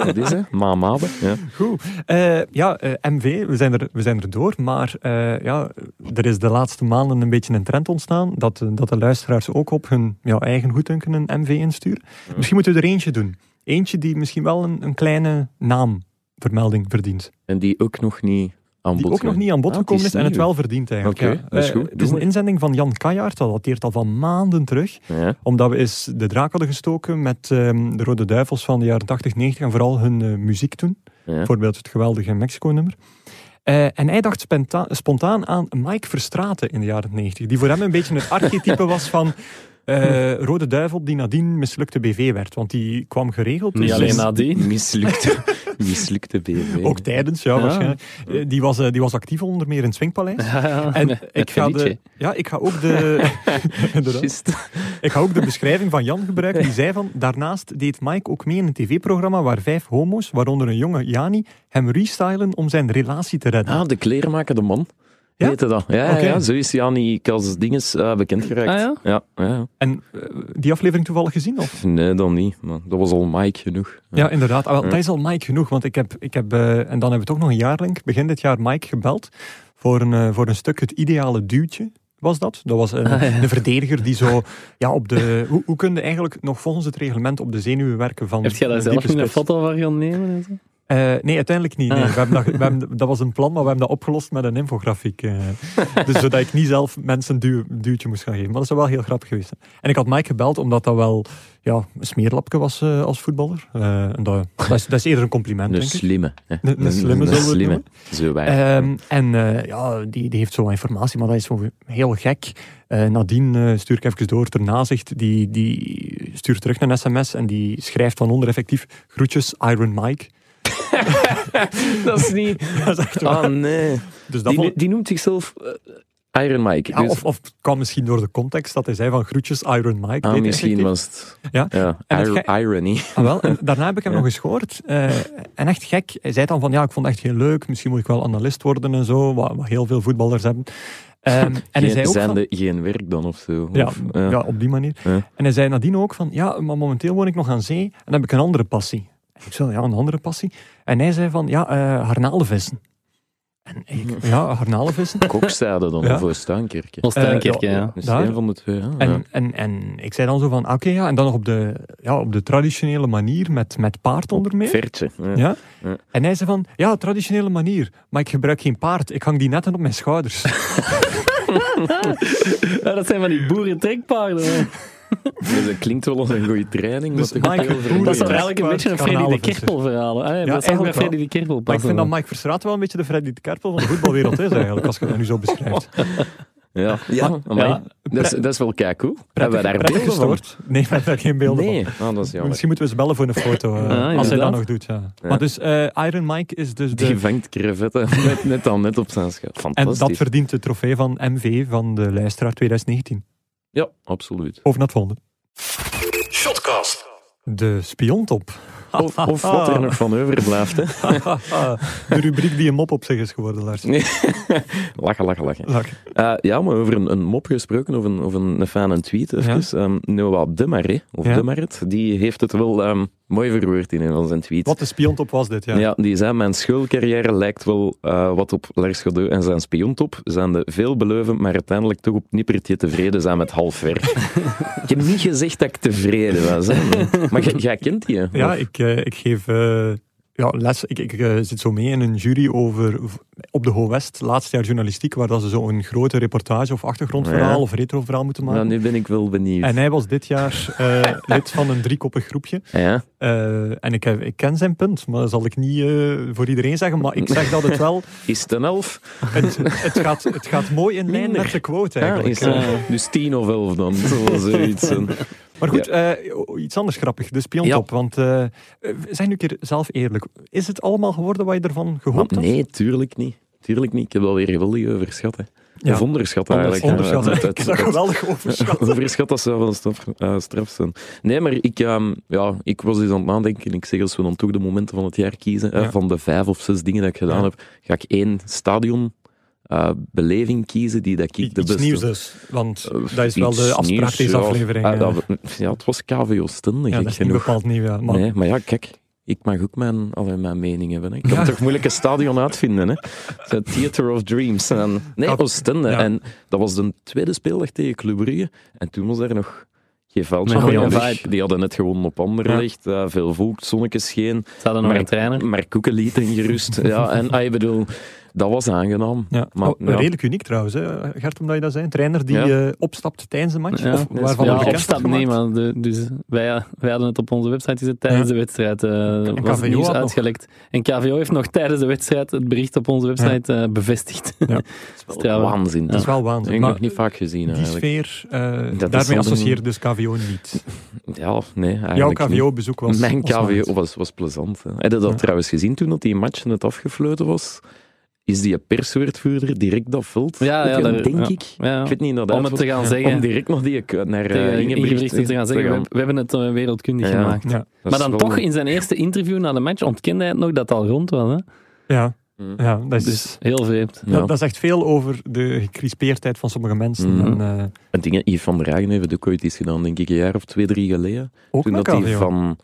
C: Dat is, hè. Mama. hè. Ja.
A: Goed. Eh, ja, eh, MV, we zijn, er, we zijn er door. Maar eh, ja, er is de laatste maanden een beetje een trend ontstaan. Dat, eh, dat de luisteraars ook op hun ja, eigen goeddunken een MV insturen. Misschien moeten we er eentje doen. Eentje die misschien wel een, een kleine naamvermelding verdient.
C: En die ook nog niet aan bod
A: Die ook nog
C: gaat.
A: niet aan bod
C: Ah, het
A: gekomen
C: is
A: is en het
C: nieuw.
A: wel verdient eigenlijk.
C: Oké,
A: ja.
C: dat is
A: Eh,
C: goed.
A: Het
C: Doe
A: is een
C: maar.
A: inzending van Jan Kajaert, dat dateert al van maanden terug.
C: Ja.
A: Omdat we eens de draak hadden gestoken met ehm, de Rode Duivels van de jaren 80, 90 en vooral hun eh, muziek toen.
C: Ja.
A: Bijvoorbeeld het geweldige Mexico-nummer. Eh, en hij dacht spenta- spontaan aan Mike Verstraten in de jaren 90, die voor hem een beetje het archetype was van eh, Rode Duivel die nadien mislukte BV werd. Want die kwam geregeld.
B: Niet
A: dus-
B: alleen nadien.
C: Mislukte, mislukte BV.
A: ook tijdens, ja, waarschijnlijk. Eh, die, was, eh, die was actief onder meer in het Swingpaleis. En ik, ga de,
B: liedje.
A: ja, ik, ga ook de, inderdaad.
C: Juist.
A: ik ga ook de beschrijving van Jan gebruiken. Die zei van, daarnaast deed Mike ook mee in een tv-programma waar vijf homo's, waaronder een jonge Jani, hem restylen om zijn relatie te redden.
C: Ah, de kleermaker, de man.
A: Ja?
C: Ja? Heette dat. Ja, ja,
A: Oké.
C: ja, zo is Jani als dinges eh, bekend geraakt.
B: Ah, ja?
C: Ja, ja.
A: En eh, die aflevering toevallig gezien of?
C: Nee, dan niet. Maar dat was al Mike genoeg.
A: Ja, inderdaad. Ah, wel, Dat is al Mike genoeg, want ik heb, ik heb eh, en dan hebben we toch nog een jaarlink, begin dit jaar Mike gebeld voor een, eh, voor een stuk het ideale duwtje. Was dat? Dat was
B: Ah,
A: een, een verdediger die zo ja, op de. Hoe, hoe kun je eigenlijk nog volgens het reglement op de zenuwen werken van.
B: Heb jij daar
A: een
B: zelf
A: diepe
B: een
A: spits?
B: foto van gaan nemen? en zo?
A: Eh, nee, uiteindelijk niet. Nee.
B: Ah.
A: We hebben dat, we hebben, dat was een plan, maar we hebben dat opgelost met een infografiek. eh. dus zodat ik niet zelf mensen een duw, duwtje moest gaan geven. Maar dat zou wel heel grappig geweest zijn. En ik had Mike gebeld, omdat dat wel ja, een smeerlapje was eh, als voetballer. Eh, en dat, dat, is, dat is eerder een compliment,
C: Een
A: denk ik.
C: slimme. hè.
A: Een- een slimme, zullen we het noemen?
C: Zo wij.
A: Ehm, en eh, ja, die, die heeft zo wat informatie, maar dat is zo heel gek. Eh, nadien eh, stuur ik even door ter nazicht. Die, die stuurt terug een sms en die schrijft van onder effectief groetjes Iron Mike.
C: dat is niet...
A: dat is echt waar.
C: Ah, nee.
A: Dus dat vond-
C: Die, die noemt zichzelf eh, Iron Mike.
A: Ja,
C: dus,
A: of, of het kwam misschien door de context dat hij zei van groetjes Iron Mike.
C: ah,
A: Deed
C: misschien
A: effectief.
C: was het...
A: Ja.
C: Ja,
A: En het
C: ir-
A: ge-
C: irony.
A: Ah, wel. En daarna heb ik hem
C: Ja.
A: nog eens gehoord. eh, en echt gek. Hij zei dan van ja, ik vond het echt heel leuk. Misschien moet ik wel analist worden en zo. Wat, wat heel veel voetballers hebben. Ehm, en hij
C: Geen-
A: zei ook
C: zijn
A: van-
C: de geen werk dan of zo?
A: ja,
C: Of, eh,
A: ja.
C: ja.
A: op die manier.
C: Ja.
A: En hij zei nadien ook van, ja, maar momenteel woon ik nog aan zee en heb ik een andere passie. En ik zei, ja, een andere passie. En hij zei van, ja, eh harnalenvissen. En ik, ja, harnalenvissen.
C: Kokzijde dan,
A: Ja.
C: of een Staankerke.
B: Of
A: Eh,
B: Stijnkerke,
A: ja.
B: ja.
C: Dat is
A: daar.
C: één van de twee. Ja.
A: En,
C: Ja.
A: en, en ik zei dan zo van, oké, ja, en dan nog op de, ja, op de traditionele manier met, met paard onder meer.
C: Vertje. Ja.
A: Ja?
C: Ja.
A: En hij zei van, ja, traditionele manier, maar ik gebruik geen paard, ik hang die netten op mijn schouders.
B: Ja, dat zijn van die boerentrekpaarden. hè.
C: Dus dat klinkt wel als een goede training.
A: Dus
C: maar toch ook
A: Michael
C: heel
A: Boer-
C: vermoeiend.
B: Dat zou
A: Ja.
B: eigenlijk een beetje een Freddy de
A: Garnalenvissers.
B: Kerpel verhaal. hè. dat zou ook
A: eigenlijk wel.
B: bij Freddy de Kerpel passen.
A: Maar ik vind dat Mike Verstraat wel een beetje de Freddy de Kerpel van de voetbalwereld is eigenlijk, als je dat nu zo beschrijft.
C: Ja, ja. amai.
B: Ja.
C: Dat, is, dat is wel kei cool. Hebben we daar
A: Prettig
C: beelden van?
A: gestoord? Nee, we hebben daar geen beelden van.
C: Nee, Ah, dat is jammer. Ah,
A: Misschien moeten we eens bellen voor een foto, eh,
B: Ja,
A: als hij
B: inderdaad.
A: dat nog doet. Ja.
C: Ja.
A: Maar dus eh, Iron Mike is dus
C: Die
A: de...
C: vangt crevetten net, net al net op zijn schaap.
A: En
C: Fantastisch.
A: dat verdient de trofee van MV van de luisteraar 2019.
C: Ja, absoluut.
A: Over naar het volgende. Shotcast. De spiontop.
C: Of, of wat er nog van overblijft. Hè.
A: de rubriek die een mop op zich is geworden, Lars.
C: Nee. lachen, lachen, lachen.
A: Lach.
C: Eh, ja, maar over een, een mop gesproken, of een, of een, een fijne tweet. Even. Ehm, Noah Demaret, of
A: Ja.
C: Demaret, die heeft het wel ehm, mooi verwoord in een van zijn tweets.
A: Wat de spiontop was dit, ja.
C: Ja. die zei, mijn schoolcarrière lijkt wel eh, wat op Lars Godot en zijn spiontop. Zijn de veelbelovend, maar uiteindelijk toch op het nippertje tevreden zijn met half werk. ik heb niet gezegd dat ik tevreden was. Hè. Maar jij- jij kent die, hè?
A: Ja,
C: Of-
A: ik, eh, ik geef eh, ja, les. Ik, ik eh, zit zo mee in een jury over v- op de Ho West, laatste jaar journalistiek, waar dat ze zo een grote reportage of achtergrondverhaal
C: Ja.
A: of retroverhaal moeten maken.
C: Nou, nu ben ik wel benieuwd.
A: En hij was dit jaar eh, lid van een driekoppig groepje.
C: Ah Ja?
A: Eh, en ik, heb- ik ken zijn punt, maar dat zal ik niet eh, voor iedereen zeggen. Maar ik zeg dat het wel.
C: Is het een elf?
A: Het, het, gaat, het gaat mooi in lijn
C: Minder.
A: met de quote
C: Ja,
A: eigenlijk.
C: is het- Dus tien of elf dan. Het zal wel zoiets zijn.
A: Maar goed, eh, o- iets anders grappig. De spiontop. Want eh, eh, zijn nu een keer zelf eerlijk. Is het allemaal geworden wat je ervan gehoopt
C: Maar
A: had?
C: Ah, nee, tuurlijk niet. Tuurlijk niet. Ik heb wel weer geweldig onderschat. Hè.
A: Ja.
C: Of onderschat eigenlijk.
A: Onderschat,
C: Ja, het-
A: hè.
C: het-
A: ik zag
C: het-
A: geweldig overschat.
C: Overschat, dat zou wel een straf, eh, straf zijn. Nee, maar ik, ehm, ja, ik was eens aan het nadenken. en Ik zeg, als we dan toch de momenten van het jaar kiezen, eh,
A: Ja.
C: van de vijf of zes dingen dat ik gedaan
A: Ja.
C: heb, ga ik één stadionbeleving kiezen die dat ik de
A: Iets
C: beste...
A: nieuws dus, want
C: Eh,
A: dat is wel
C: iets
A: de afspraak
C: nieuws,
A: deze
C: ja.
A: aflevering.
C: Ah,
A: eh.
C: dat- ja, het was KVO Stende,
A: ja,
C: gek
A: dat is niet
C: genoeg.
A: bepaald nieuw. Ja. Maar
C: Maar, nee, maar ja, kijk, ik mag ook mijn, allee, mijn mening hebben. Hè. Ik kan
A: Ja.
C: toch moeilijk een stadion uitvinden. Hè. Zo, Theater of Dreams. En, nee,
A: Kap-
C: Oostende.
A: ja.
C: En dat was de tweede speeldag tegen Club Brugge. En toen was daar nog geen veldje.
B: Met
C: van
B: goeie
C: Jan Weg.
B: vibe.
C: Die hadden net gewonnen op Anderlecht. eh, veel volk, het zonnetje scheen.
B: Ze hadden nog
C: Maar-
B: een trainer.
C: Maar koeken liet ingerust. ja, en ah, ik bedoel, dat was aangenaam.
A: Ja.
C: Maar,
A: Oh,
C: ja.
A: Redelijk uniek trouwens, hè, Gert, omdat je dat zei. Een trainer die
C: Ja.
A: eh, opstapt tijdens de match.
B: Ja,
A: of
B: dat
C: is-
A: waarvan
C: Van
B: ja,
A: bekend wordt
B: opstap
A: gemaakt.
B: nee, maar de- dus wij, wij hadden het op onze website gezet tijdens
A: Ja.
B: de wedstrijd. eh
A: En
B: was
A: KVO
B: het nieuws
A: had nog.
B: uitgelekt. En KVO heeft nog tijdens de wedstrijd het bericht op onze website eh, bevestigd.
A: Ja.
B: trouwens-
C: Waanzin.
A: Dat
C: Dat
A: is wel
C: heb ik
A: waanzinnig.
C: nog niet vaak gezien
A: die
C: eigenlijk.
A: sfeer, eh,
C: is
A: daarmee
C: zo'n-
A: associeert dus KVO niet.
C: Ja, nee, eigenlijk
A: Jouw
C: niet.
A: KVO-bezoek was...
C: Mijn
A: was waanzinnig.
C: KVO was, was plezant. Hè. Heb je dat
A: Ja.
C: trouwens gezien toen dat die match net afgefloten was? Is die perswoordvoerder direct dat veld?
B: Ja, ja,
C: opgegaan,
B: daar-
C: denk
B: ja.
C: ik.
B: Ja,
C: Ik weet niet dat
B: om het te gaan zeggen.
C: Om direct nog die k- naar eh,
B: tegen
C: Ingebrigtsen
B: Ingebrigtsen te gaan zeggen, we, we hebben het eh, wereldkundig
C: Ja.
B: gemaakt.
A: Ja,
C: Dat
B: maar
C: is
B: dan
C: wel-
B: toch, in zijn eerste interview na de match ontkende hij het nog dat het al rond was. Hè?
A: ja,
C: Mm.
A: ja, dat is...
B: Dus heel vreemd.
C: Ja.
A: Dat, dat zegt veel over de gecrispeerdheid van sommige mensen.
C: Mhm.
A: En, eh,
C: En dingen, Yves van Dragen heeft het ook ooit iets gedaan, denk ik, een jaar of twee, drie geleden.
A: ook
C: toen
A: met
C: dat hij
A: KVO.
C: van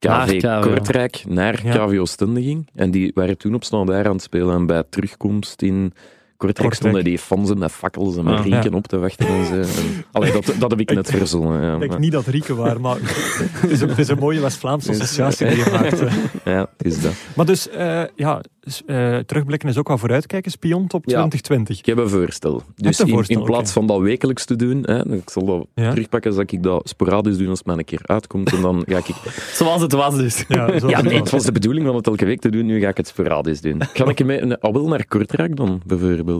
B: Naar
C: KV
B: KVO.
C: Kortrijk naar
A: Ja.
C: KVO Stende ging. En die waren toen op snel daar aan het spelen. En bij terugkomst in Kortrijk stonden die fans met fakkels en met
B: Ah,
C: rinken op te wachten. En zo. En- allee, dat, dat heb ik net verzonnen. Ja,
A: Ik denk
C: maar-
A: niet dat Rieke waar, maar het, is een, het is een mooie West-Vlaamse associatie die je maakt. eh.
C: ja het is dat.
A: Maar dus, eh, ja, s- eh, terugblikken is ook wel vooruitkijken. Spion top
C: Ja.
A: 2020.
C: Ik heb een voorstel. Dus
A: een
C: in,
A: voorstel,
C: in plaats
A: oké.
C: van dat wekelijks te doen, hè, ik zal dat
A: Ja.
C: terugpakken, zal ik dat sporadisch doen als het mij een keer uitkomt. En dan ga ik...
B: Zoals het was dus.
A: Ja, zo
C: Ja, nee,
A: bedoeld.
C: het was de bedoeling om het elke week te doen, nu ga ik het sporadisch doen. Kan ik mee, al wel naar Kortrijk dan, bijvoorbeeld?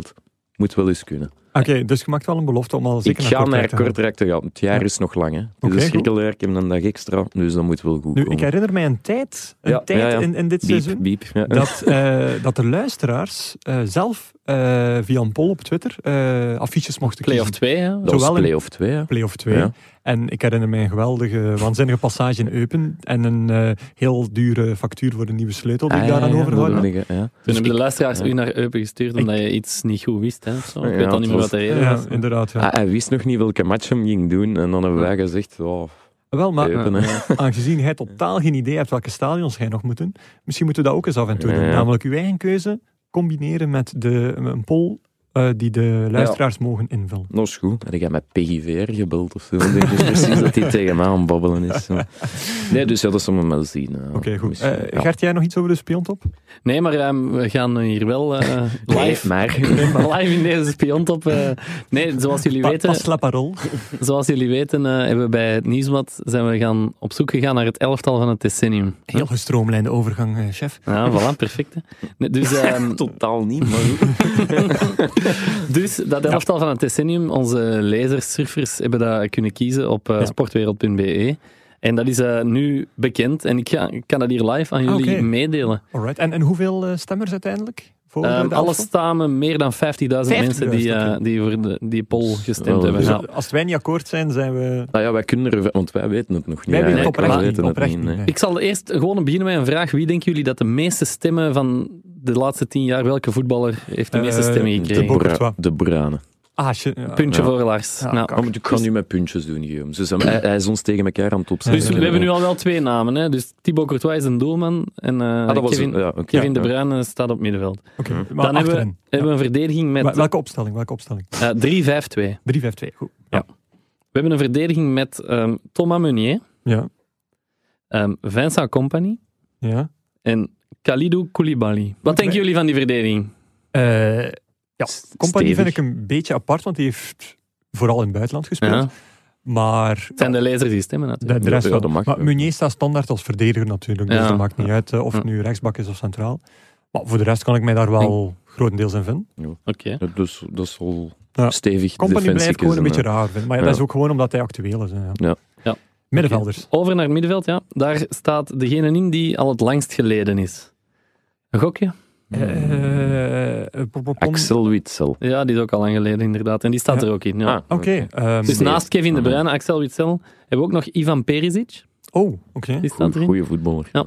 C: Moet wel eens kunnen.
A: Oké, dus je maakt wel een belofte om al zeker
C: ik ga naar
A: te gaan.
C: Kortrijk te gaan. Het jaar
A: Ja.
C: is nog lang, hè. Het
A: Oké,
C: is een
A: goed.
C: schrikkelwerk, ik heb een dag extra, dus dat moet wel goed
A: Nu,
C: komen.
A: ik herinner mij een tijd, een
C: Ja,
A: tijd
C: ja, ja.
A: In, in dit
C: Biep,
A: seizoen,
C: biep. Ja.
A: dat, eh, dat de luisteraars eh, zelf eh, eh, via een poll op Twitter eh, affiches mochten
B: Play
A: kiezen.
B: of 2, hè?
C: Dat was
A: Zowel in-
C: play-off 2, hè.
A: Play of 2.
C: Ja.
A: En ik herinner mij een geweldige, waanzinnige passage in Eupen. En een eh, heel dure factuur voor een nieuwe sleutel die
C: Ah,
A: ik
C: ja,
A: daaraan
C: ja,
A: overhouden
C: dat
A: had.
C: bedoel ik, ja.
B: Toen hebben de luisteraars
C: ja.
B: u naar Eupen gestuurd omdat je iets niet goed wist. Hè, of zo. Ik
C: Ja,
B: weet al
C: het
B: niet meer
C: was-
B: wat de reden was.
A: Ja, inderdaad. Ja.
C: Ah, hij wist nog niet welke match hem ging doen. En dan hebben wij gezegd, oh,
A: Wel, maar
C: Eupen, hè.
A: aangezien jij totaal geen idee hebt welke stadions jij nog moet doen, misschien moeten we dat ook eens af en toe doen.
C: Ja, ja.
A: Namelijk uw eigen keuze combineren met de, een poll eh, die de luisteraars mogen invullen.
C: Dat is goed. Had ik met PGVR gebeld of zo? Dan denk ik precies dat hij tegen mij aan het babbelen is. zo. Nee, dus ja, dat zullen we wel zien. ja.
A: Oké, goed.
C: Misschien,
A: Eh,
C: ja.
A: Gert, jij nog iets over de spiontop?
B: Nee, maar ehm, we gaan hier wel eh, live,
C: Nee, maar...
B: live in deze spiontop. eh nee, zoals jullie
A: Pa-
B: weten,
A: Pas la parole.
B: Zoals jullie weten eh, hebben we bij het Nieuwsblad zijn we gaan op zoek gegaan naar het elftal van het decennium.
A: Heel gestroomlijnde overgang, eh, chef.
B: Ja, voilà, perfect. hè. Nee, dus, ehm,
C: Totaal niet, maar goed.
B: dus dat elftal van het decennium, onze lezers, surfers, hebben dat kunnen kiezen op eh,
A: Ja.
B: sportwereld.be. E. En dat is eh, nu bekend en ik, ga, ik kan dat hier live aan jullie
A: Ah, oké.
B: meedelen.
A: Alright. En, en hoeveel eh, stemmers uiteindelijk? Voor
B: Ehm,
A: eh, de
B: alle
A: afstand?
B: samen meer dan 50.000 mensen die,
A: 50.000,
B: eh,
A: oké.
B: die voor de, die poll gestemd
C: wel,
B: hebben.
A: Dus
B: Ja.
A: als wij niet akkoord zijn, zijn we...
C: Nou ja, wij kunnen er... Want wij weten het nog niet.
A: Wij weten
C: eigenlijk.
A: oprecht
C: Wij
A: niet,
C: weten het
A: oprecht niet,
C: nee.
A: nee.
B: Ik zal eerst gewoon beginnen met een vraag. Wie denken jullie dat de meeste stemmen van de laatste tien jaar, welke voetballer heeft de meeste
A: Eh,
B: stemmen
C: De,
B: gekregen?
A: Bo-
C: bra de Brane.
A: Ah, shit. Ja.
B: Puntje
C: Ja.
B: voor Lars.
A: Ja,
B: nou.
A: kan.
C: Oh, maar ik kan nu met puntjes doen, Guillaume. Ze zijn, hij, hij is ons tegen elkaar aan het opzetten.
B: Dus we hebben nu al wel twee namen. Hè? Dus Thibaut Courtois is een doelman en eh,
C: Ah, dat was
B: Kevin,
C: ja, oké.
B: Kevin De
C: Ja.
B: Bruyne staat op middenveld.
A: Oké, maar
B: Dan hebben we,
A: achterin.
B: hebben we een verdediging met
A: Wel- Welke opstelling? Welke opstelling?
B: eh, 3-5-2.
A: 3, 5, 2. Goed.
B: We hebben een verdediging met ehm, Thomas Meunier,
A: Ja.
B: ehm Vincent Company
A: Ja.
B: en Khalidou Koulibaly. Wat denken jullie van die verdediging?
A: Eh, ja.
C: S-
A: Compagnie
C: stevig.
A: vind ik een beetje apart, want die heeft vooral in het buitenland gespeeld.
B: Ja.
A: Maar
B: Het zijn de lezers die stemmen
A: de,
B: natuurlijk.
A: de rest
C: Ja,
A: wel.
C: dat mag,
A: maar
C: ja.
A: Meunier staat standaard als verdediger natuurlijk, dus
B: Ja.
A: dat maakt niet uit eh, of
B: Ja.
A: het nu rechtsbak is of centraal. Maar voor de rest kan ik mij daar wel grotendeels in vinden.
B: Oké.
C: Ja, Dus dat is al
A: Ja.
C: stevig
A: Compagnie
C: defensie
A: blijft gewoon een
C: kiezen,
A: beetje
C: hè.
A: raar vinden. Maar ja,
C: Ja.
A: dat is ook gewoon omdat hij actueel is. hè, Ja.
C: Ja.
B: Ja.
A: Middenvelders.
B: Over naar het middenveld, ja. Daar staat degene in die al het langst geleden is. Een gokje?
A: Eh, eh, pom, pom, pom.
C: Axel Witsel.
B: Ja, die is ook al lang geleden, inderdaad. En die staat
A: Ja.
B: er ook in. Ja.
C: Ah,
A: Oké. ehm,
B: dus
C: nee.
B: naast Kevin De
C: Mhm.
B: Bruyne, Axel Witsel, hebben we ook nog Ivan Perisic.
A: Oh, oké.
B: Die staat erin.
C: Goede voetballer.
B: Ja.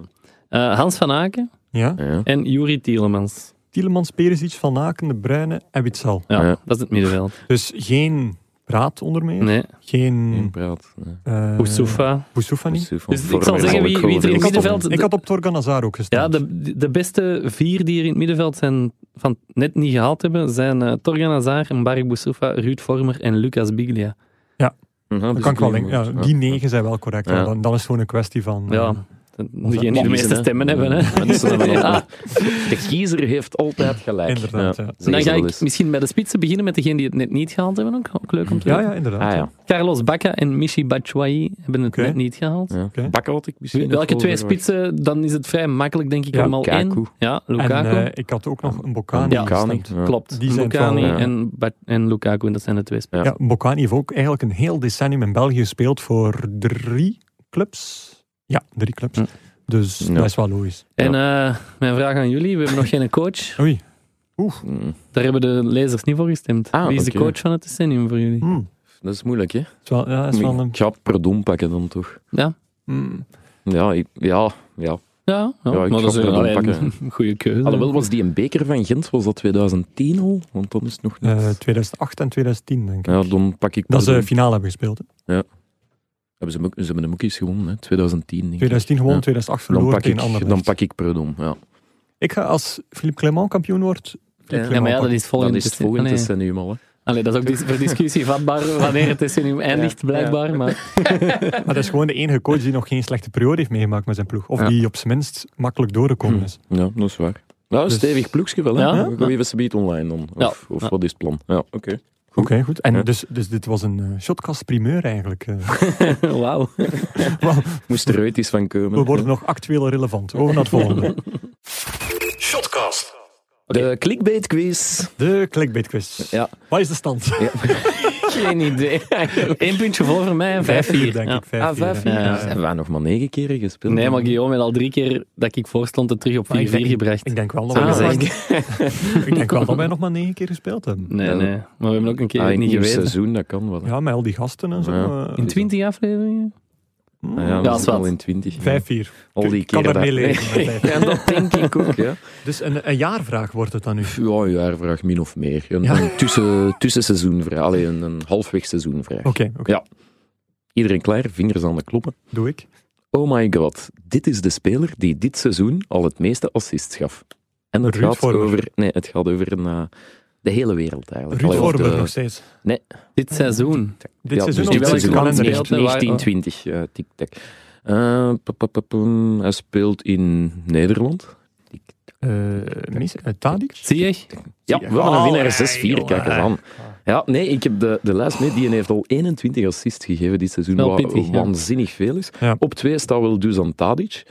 B: Eh, Hans van Aken
A: Ja.
C: Ja.
B: en Juri Tielemans.
A: Tielemans, Perisic, Van Aken, De Bruyne en Witsel.
B: Ja,
C: Ja.
B: dat is het middenveld.
A: Dus geen Raad onder meer.
B: Nee,
A: Geen...
C: Inpraat. Ja.
A: eh,
B: Oussoufa.
A: Bousoufa niet.
B: Dus ik zal zeggen wie- wie er in
A: Ik had, op,
B: middenveld-
A: ik had op Torgan Hazard ook
B: Ja,
A: gestemd.
B: de, de beste vier die er in het middenveld zijn van net niet gehaald hebben, zijn eh, Torgan Hazard, Mbarek Boussoufa, Ruud Vormer en Lucas Biglia.
C: dus
A: dat kan ik wel denken. Ja, die negen zijn wel correct.
C: Ja.
A: want Dan, dan is het gewoon een kwestie van... eh,
B: Ja, degene die de
C: Kiezen,
B: meeste
C: hè.
B: stemmen hebben. Hè.
C: Mensen hebben
B: Ja.
C: altijd- De kiezer heeft altijd gelijk.
A: Inderdaad, ja.
C: zeg
B: Dan
C: het
B: ga
C: wel
B: ik
C: eens.
B: misschien bij de spitsen beginnen met degene die het net niet gehaald hebben. Ook, ook leuk om te
A: ja,
B: weten.
A: ja, inderdaad.
C: Ah
A: ja.
C: ja.
B: Carlos Bacca en Michi Batshuayi hebben het
A: Oké.
B: net niet gehaald.
C: ja.
A: Oké.
C: Bakker had ik misschien. nog
B: Welke
C: wel
B: twee
C: verwacht.
B: spitsen, dan is het vrij makkelijk, denk ik,
A: Ja,
B: allemaal één.
C: Lukaku.
B: Ja,
A: En
B: Lukaku.
A: eh, ik had ook nog een Bocani
B: Ja.
C: Bocani.
A: gestemd.
C: Ja.
B: Klopt.
A: die zijn
B: Bocani
A: het
C: wel, ja.
B: en, Ba- en Lukaku, en dat zijn de twee spitsen.
A: Ja, Bocani heeft ook eigenlijk een heel decennium in België gespeeld voor drie clubs. Ja, drie clubs.
B: Hm.
A: Dus
C: Ja.
A: dat is wel logisch.
B: En eh, mijn vraag aan jullie, we hebben nog geen coach.
A: Oei.
C: Mm.
B: Daar hebben de lezers niet voor gestemd.
C: Ah,
B: Wie is de
C: oké.
B: coach van het decennium voor jullie?
A: Hm.
C: Dat is moeilijk, hè?
A: Is wel, ja, is wel een...
C: Ik ga Perdom pakken dan toch.
B: Ja,
A: Hm.
C: Ja, ik- ja, ja.
B: ja, ja,
C: Ja, ik
B: maar
C: ga
B: dat is een
C: Perdom
B: allee,
C: pakken.
B: een goede keuze.
C: Alhoewel, was die een beker van Gent? Was dat 2010 al? Want dan is het nog
A: Eh,
C: net...
A: 2008 en 2010, denk ik.
C: Ja, dan pak ik
A: Dat ze
C: Perdom.
A: de finale hebben gespeeld. hè.
C: Hebben ze, hem ook- ze hebben hem ook eens gewonnen, hè? 2010 denk ik.
A: 2010 gewonnen, 2008
C: dan
A: verloren
C: pak
A: tegen
C: ik,
A: Anderlecht.
C: dan pak ik Perdom, ja.
A: Ik ga als Philippe Clement kampioen wordt. Philippe
B: ja, maar ja,
A: Clement
B: dat is volgend
C: Dan is het volgend
B: decennium.
C: decennium al, hè.
B: Allee, dat is ook dis- voor discussie vatbaar wanneer het decennium eindigt,
C: Ja.
B: blijkbaar. Maar
A: pakken. Maar dat is gewoon de enige coach die nog geen slechte periode heeft meegemaakt met zijn ploeg. Of
C: Ja. Hm.
A: die op zijn minst makkelijk doorgekomen is.
C: Ja, dat is waar. Nou,
A: Dus-
C: stevig ploegje wel, hè?
B: Ja.
C: We gaan even subiet online dan. Of,
B: Ja.
C: of
B: Ja.
C: wat is het plan? Ja, oké.
A: Oké, goed. En
C: Ja.
A: dus, dus dit was een eh, shotcast primeur eigenlijk. eh.
B: wauw.
C: Moest er ooit iets van komen.
A: We worden nog actueel relevant. Over naar het volgende.
C: De clickbait quiz.
A: De clickbait quiz.
C: Ja.
A: Wat is de stand?
C: Geen idee.
B: Eén puntje voor voor mij en vijf, vier.
A: denk
B: Ja.
A: ik. Vijf,
C: Ah,
A: vier,
C: vijf
A: hè.
C: jaar.
B: Ja, ja.
C: Ze hebben nog maar negen keren gespeeld.
B: Nee, maar Guillaume heeft al drie keer dat ik voorstond het terug op 4-4
A: Maar ik denk-
B: gebracht.
A: Ik denk wel dat
B: Zo
A: wij nog
B: gezegd.
A: maar- ik denk wel dat wij nog maar negen keer gespeeld hebben.
B: Nee,
C: Ja.
B: nee. Maar we hebben ook een keer
C: Ah,
B: het
C: in
B: niet
C: het nieuwe
B: geweten.
C: seizoen, dat kan wel.
A: Ja, met al die gasten en zo.
C: Ja.
A: eh,
B: In 20 afleveringen?
A: mm,
C: Ah ja,
B: dat
C: we
B: is
C: zitten
B: wat.
C: al in twintig.
A: Vijf, vier.
C: Al die
A: Ik kan
C: keren
A: daarmee
C: dat-
A: leven,
C: Nee.
A: met vijf.
C: Ja, dat denk ik ook, ja.
A: Dus een, een jaarvraag wordt het dan nu.
C: Pff, Ja, een jaarvraag min of meer. Een,
A: Ja.
C: een tussen, tussenseizoenvraag. Allee, een, een halfweg seizoenvraag.
A: Oké, oké,
C: Iedereen klaar, vingers aan de kloppen.
A: doe ik.
C: Oh my god, dit is de speler die dit seizoen al het meeste assists gaf. En het
A: Ruud
C: gaat
A: Vormer.
C: over... Nee, het gaat over een, eh, de hele wereld eigenlijk.
A: Ruud
C: Allee, of
A: Vormer
C: de-
A: nog steeds.
B: Dit seizoen.
A: Dit
C: eh, ja,
A: seizoen
C: dus
A: of
C: dit
A: dit
B: welke
C: seizoen.
B: land
A: kalender?
B: speelt hij?
C: 1920, ja, tic-tac. Eh, pa- pa- pa- pum, hij speelt in Nederland.
A: Eh, mis- eh, Tadic?
B: Zie je?
C: Ja,
A: Zie
C: we
A: je.
C: hebben een winnaar
A: Allee,
C: 6-4, kijk eens
A: jongen.
C: aan. Ja, nee, ik heb de, de lijst mee. Die heeft al 21 assists gegeven dit seizoen,
B: Wel
C: wat
B: pittig, ja.
C: waanzinnig veel is.
A: Ja.
C: Op twee staat wel Dusan Tadic,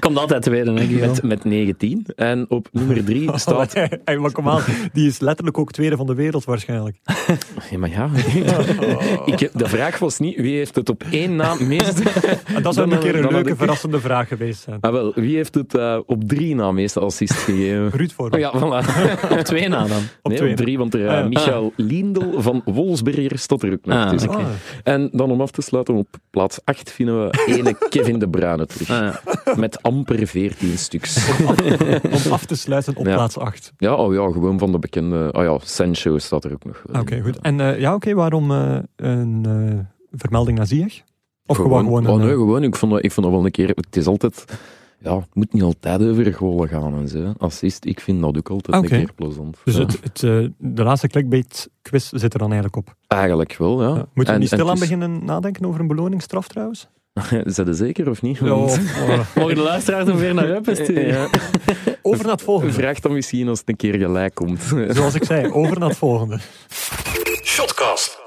B: Komt altijd tweede, hè, Guillaume?
C: met, met 19. En op nummer 3 staat...
A: Hey, hey, maar kom aan, die is letterlijk ook tweede van de wereld waarschijnlijk.
C: Ja, maar ja... ik heb, de vraag was niet wie heeft het op één na meest...
A: En Ah, dat zou
C: Dan-
A: een keer een
C: dan had
A: leuke,
C: ik-
A: verrassende vraag geweest zijn.
C: Ah, wel, wie heeft het eh, op drie na meeste assists gegeven?
A: Ruud Vormer,
C: Oh Ja, voilà.
B: Op twee na dan.
A: op
C: nee,
A: twee.
C: op drie, want er, eh,
A: Ah, ja.
C: Michael Lindel van Wolfsberger stond er ook nog
B: Ah,
C: tussen.
B: oké.
A: Ah,
C: En dan om af te sluiten, op plaats 8 vinden we ene Kevin De Bruyne terug.
B: Ah, ja.
C: Met amper 14 stuks.
A: om af te sluiten op
C: Ja.
A: plaats 8.
C: Ja, oh ja, gewoon van de bekende... Oh ja, Sancho staat er ook nog. wel
A: Oké,
C: in.
A: goed. En eh, ja, oké, waarom eh, een eh, vermelding naar Ziyech? Of gewoon, gewoon een...
C: oh nee,
A: eh,
C: gewoon. Ik vond, dat, ik vond dat wel een keer... Het is altijd... Ja, het moet niet altijd over golen gaan en zo. hè. Assist, ik vind dat ook altijd
A: Oké.
C: een keer plezant.
A: dus
C: Ja.
A: het, het, eh, de laatste clickbait-quiz zit er dan eigenlijk op.
C: Eigenlijk wel, ja.
A: Ja. Moeten we
C: En-
A: niet
C: en
A: stilaan
C: het is-
A: beginnen nadenken over een beloningsstraf trouwens?
C: Zijn ze zeker of niet?
A: Ja,
C: Want-
A: of- eh,
B: Mogen de luisteraars hem weer naar Eupen sturen?
C: Ja.
A: over naar het volgende.
C: Vraag dan misschien als het een keer gelijk komt.
A: Zoals ik zei, over naar het volgende. Shotcast.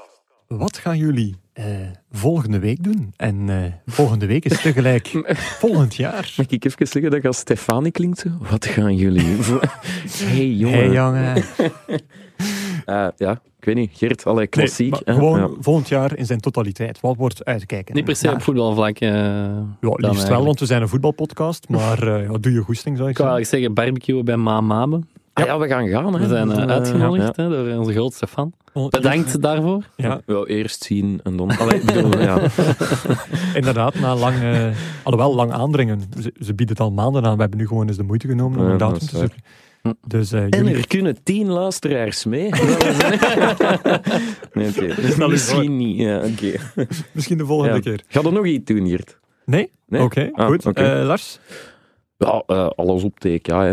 A: Wat gaan jullie eh, volgende week doen? En eh, volgende week is tegelijk volgend jaar.
C: Mag ik even zeggen dat ik als Stefanie klinkt? zo? Wat gaan jullie doen? hey jongen.
A: Hey jongen.
C: Eh, ja, ik weet niet. Gert, allerlei klassiek.
A: Nee,
C: hè?
A: maar gewoon
C: Ja.
A: volgend jaar in zijn totaliteit. Wat wordt uitkijken?
B: Niet per se
A: Ja,
B: op voetbalvlak. eh ja,
A: ja,
C: eh,
A: liefst wel, want we zijn een voetbalpodcast. Maar eh, ja, doe je goesting, zou ik
B: Ik
A: zeggen.
B: wou eigenlijk zeggen, barbecuen bij Ma Mabe.
C: Ah, ja, we gaan gaan. Hè.
B: We zijn eh,
C: Eh,
B: uitgenodigd hè, door onze grootste fan. Bedankt daarvoor.
C: Ja.
A: Ja,
C: Wel eerst zien en dan. Allee, ik bedoel, ja.
A: inderdaad, na lang, eh, alhoewel lang aandringen. Ze, ze bieden het al maanden aan. We hebben nu gewoon eens de moeite genomen om
C: Ja,
A: een
C: dat
A: datum
C: is
A: te
C: waar.
A: zoeken. Dus eh,
C: En
A: jullie-
C: er kunnen tien luisteraars mee. nee, oké.
A: voor.
C: Misschien niet. Ja, oké.
A: misschien de volgende
C: Ja.
A: keer.
C: Ga er nog iets doen, Gert?
A: Nee?
C: Nee?
A: Oké,
C: Ah,
A: goed.
C: oké.
A: Eh, Lars?
C: Ja, eh, alles op TK. Hè.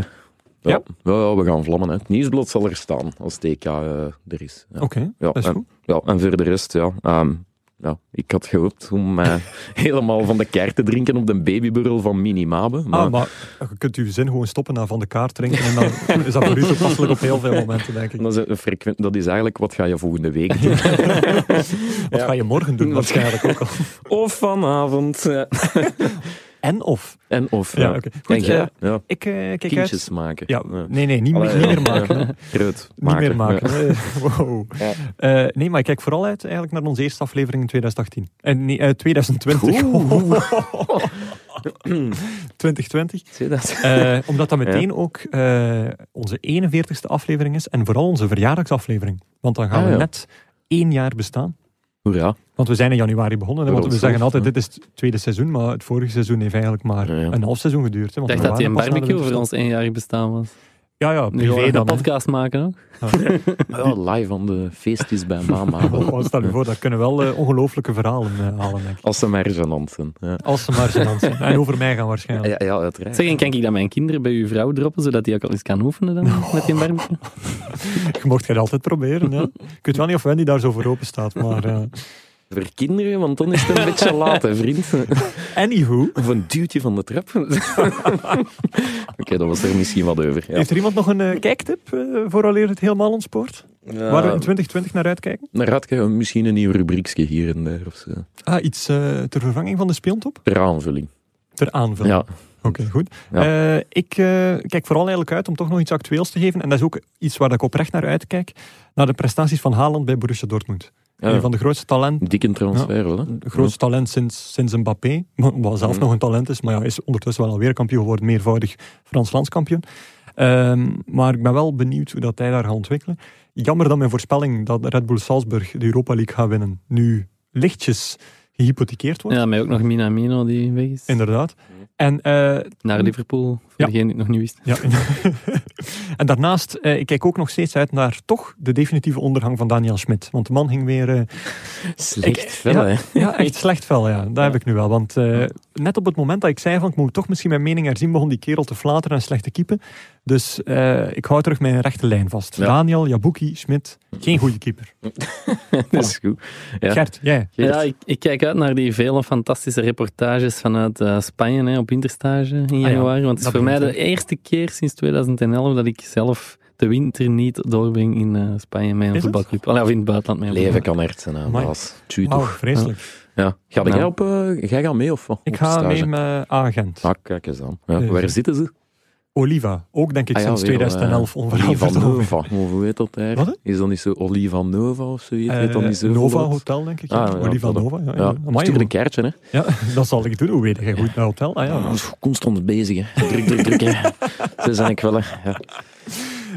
C: Ja.
A: Ja.
C: Ja. ja, we gaan vlammen. Hè. Het nieuwsblad zal er staan als TK eh, er is. Ja. eh,
A: Oké,
C: Ja,
A: dat is
C: en-
A: goed.
C: Ja, en voor de rest, ja. ehm, ja ik had gehoopt om eh, helemaal van de kaart te drinken op de babyburrel van Minimabe. Maar,
A: Ah, maar je kunt uw zin gewoon stoppen na van de kaart drinken. En dan is dat voor u toepasselijk op heel veel momenten, denk ik.
C: dat, is een frequent, dat is eigenlijk wat ga je volgende week doen.
A: Wat ga je morgen doen,
C: Wat-
A: waarschijnlijk ook al.
C: of vanavond. eh,
A: En of.
C: en of.
A: Ja, oké. Goed,
C: en jij?
A: eh,
C: ja.
A: Ik eh, kijk uit.
C: Kindjes maken.
A: Ja, nee, nee, niet,
C: Allee,
A: niet
C: ja.
A: meer maken. hè.
C: Rood
A: Niet meer
C: Ja.
A: maken. Eh, wow.
C: Ja.
A: Eh, nee, maar ik kijk vooral uit eigenlijk naar onze eerste aflevering in 2018. En nee, eh, 2020. 2020.
C: Zie je dat?
A: Eh, omdat dat meteen ook eh, onze 41ste aflevering is. En vooral onze verjaardagsaflevering. Want dan gaan
C: Ah,
A: we
C: ja.
A: net één jaar bestaan.
C: Hoera.
A: Want we zijn in januari begonnen. hè, Want we
C: Rond
A: zeggen
C: zelf,
A: altijd, dit is het tweede seizoen. Maar het vorige seizoen heeft eigenlijk maar
C: Ja, ja.
A: een half seizoen geduurd. hè, want
B: Ik dacht
A: we
B: dat die een
A: waren pas na de
B: barbecue voor
A: winterstop.
B: ons éénjarig bestaan was.
A: Ja, ja,
B: Nu gaan we
A: privé
B: een
A: dan. hè.
B: podcast maken. hè.
C: Ja, live aan de feestjes bij mama.
A: Oh, stel je voor, dat kunnen wel eh, ongelooflijke verhalen eh, halen, denk ik.
C: Als ze maar genant zijn. Ja.
A: Als ze maar gênant zijn. En over mij gaan waarschijnlijk.
C: Ja, ja, uiteraard.
B: Zeg, en kan ik dat mijn kinderen bij uw vrouw droppen, zodat die ook al eens kan oefenen dan, met die barbecue?
A: Je mocht het altijd proberen. Ja. Ik weet wel niet of Wendy daar zo voor open staat. Maar, eh
C: Voor kinderen, want dan is het een beetje laat, hè, vriend.
A: Anywho,
C: Of een duwtje van de trap. Oké, dat was er misschien wat over. Ja.
A: heeft er iemand nog een eh, kijktip eh vooraleer het helemaal ontspoort?
C: Eh,
A: Waar we in 2020 naar uitkijken?
C: Dan raad ik Nou, misschien een nieuw rubriekje hier en daar. Of zo.
A: Ah, iets eh, ter vervanging van de speeltop?
C: Ter aanvulling.
A: Ter aanvulling.
C: Ja.
A: Oké, goed. Eh, ik eh, kijk vooral eigenlijk uit om toch nog iets actueels te geven. En dat is ook iets waar ik oprecht naar uitkijk. Naar de prestaties van Haaland bij Borussia Dortmund.
C: Ja,
A: Een van de grootste talenten.
C: Ah, dikke transfer, wel, hè?
A: De grootste talent sinds, sinds Mbappé, wat zelf nog een talent is, maar ja, is ondertussen wel alweer kampioen geworden, meervoudig Frans landskampioen. Ehm, maar ik ben wel benieuwd hoe dat hij daar gaat ontwikkelen. Jammer dat mijn voorspelling dat Red Bull Salzburg de Europa League gaat winnen, nu lichtjes gehypothekeerd wordt.
B: Ja, mij ook nog Minamino die weg is.
A: Inderdaad. En eh,
B: Naar Liverpool, voor
A: Ja.
B: degene die het nog niet wist.
A: Ja. en daarnaast, eh, ik kijk ook nog steeds uit naar toch de definitieve ondergang van Daniel Schmidt. Want de man ging weer... eh,
C: Slecht
A: Ik-
C: fel,
A: ja.
C: hè?
A: ja, echt slecht fel, ja. Dat heb ik nu wel. Want eh, net op het moment dat ik zei van ik moet toch misschien mijn mening herzien, begon die kerel te flateren en slecht te keepen. Dus eh, ik hou terug mijn rechte lijn vast.
C: Ja.
A: Daniel, Jabuki, Schmidt, geen goede keeper.
C: Dat is goed. Ja.
A: Gert, jij?
C: Geert.
B: Ja, ik, ik kijk uit naar die vele fantastische reportages vanuit eh, Spanje hè, op Interstage in
A: Ah ja,
B: januari. want het is
A: dat
B: voor mij de
A: begint,
B: eerste keer sinds 2011 dat ik zelf de winter niet doorbreng in eh, Spanje met
A: het?
B: een voetbalclub. Allee, of in het buitenland met een
C: Leven
B: voetbalclub.
C: kan hard zijn, aan,
A: Amai.
C: baas. Tjuu,
A: Wauw,
C: toch.
A: vreselijk.
C: Ja. Ga
B: Nou.
C: jij, op, eh, jij gaat mee of wat?
A: Ik
C: Op
A: ga
C: stage?
A: mee Eh, met agent.
C: Ah, kijk eens aan. Ja,
A: Nee,
C: waar
A: nee.
C: zitten ze?
A: Oliva, ook denk ik
C: Ah ja,
A: sinds
C: weer, eh,
A: 2011 onveranderd.
C: Olivanova. Hoe heet dat daar?
A: Wat?
C: Is dat niet zo Olivanova of zoiets?
A: Eh,
C: Heet dat niet zo?
A: Nova
C: Volgens-
A: Hotel, denk ik.
C: Ah,
A: ja.
C: ja,
A: Oliva
C: dat-
A: Nova. Ja, ja.
C: Ja,
A: Amai,
C: stuur
A: hoe-
C: een kaartje, hè.
A: Ja, dat zal ik doen. Hoe weet je goed naar hotel? Ah, ja.
C: Ah, zo constant bezig, hè. Druk, druk, druk, hè. Ze zijn ik wel, hè. Ja.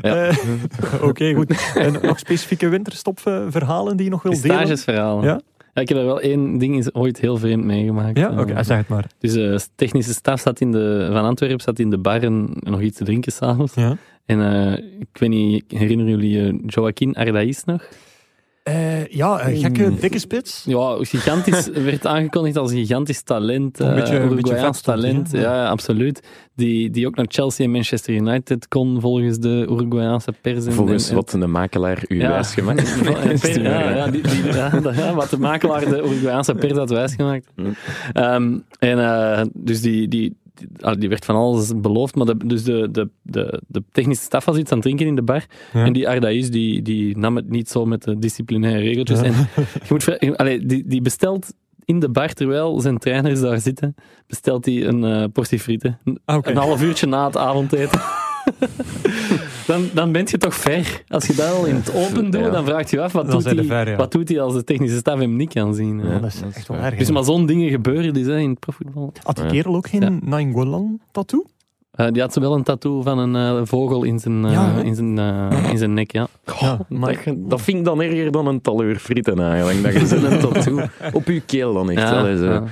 C: Ja.
A: Eh, Oké, goed. En nog specifieke winterstopverhalen die je nog
B: Die
A: wilt delen?
B: Stagesverhalen.
A: Ja?
B: Ja, ik heb er wel één ding is ooit heel vreemd meegemaakt.
A: Ja, oké,
B: Eh,
A: zeg het maar.
B: Dus de technische staf zat in de, van Antwerpen zat in de bar en nog iets te drinken s'avonds.
A: Ja.
B: En eh, ik weet niet, herinneren jullie eh, Joaquin Ardaïs nog?
A: Eh, ja, een gekke, dikke spits.
B: Ja, gigantisch. werd aangekondigd als een gigantisch talent.
A: Een
B: eh,
A: beetje- een beetje
B: Uruguayaans
A: vet stond hij,
B: talent.
A: hè?
B: Ja, ja, absoluut. Die, die ook naar Chelsea en Manchester United kon, volgens de Uruguayaanse pers. en-
C: Volgens
B: en-
C: wat een makelaar u
B: Ja.
C: wijsgemaakt heeft.
B: Ja, ja, ja, die, die, ja, dat- ja, wat de makelaar de Uruguayaanse pers had wijsgemaakt.
C: Hmm.
B: Ehm, en eh, dus die, die, die, ah, die werd van alles beloofd, maar de, dus de, de, de, de technische staf was iets aan het drinken in de bar.
A: Ja.
B: En die Ardaïs die, die nam het niet zo met de disciplinaire regeltjes.
A: Ja.
B: En je moet vra- je- allee, die, die bestelt in de bar, terwijl zijn trainers daar zitten, bestelt hij een eh, portie frieten.
A: Ah, oké.
B: Een half uurtje na het avondeten. dan, dan ben je toch ver. Als je dat al in het open doet,
C: Ja.
B: dan vraag je je af, wat
A: Dan
B: doet,
A: zijn
B: hij,
A: we ver, ja.
B: wat doet hij als de technische staf hem niet kan zien. hè?
C: Ja.
A: dat is
C: dat is
A: echt wel
C: waar.
A: erg.
B: Dus
A: hè.
B: maar zo'n dingen gebeuren die zijn in het profvoetbal.
A: Had die
C: Ja.
A: kerel ook geen
B: Ja.
A: Nainggolan-tattoo?
B: Eh, die had wel een tattoo van een eh, vogel in zijn, eh,
A: Ja, hè?
B: in, zijn, eh, in zijn nek, ja.
A: Ja,
C: Dat, dat vind ik dan erger dan een taleur frieten eigenlijk. Dat je zo'n tattoo op uw keel dan echt.
B: Ja,
C: Allee, zo.
B: ja.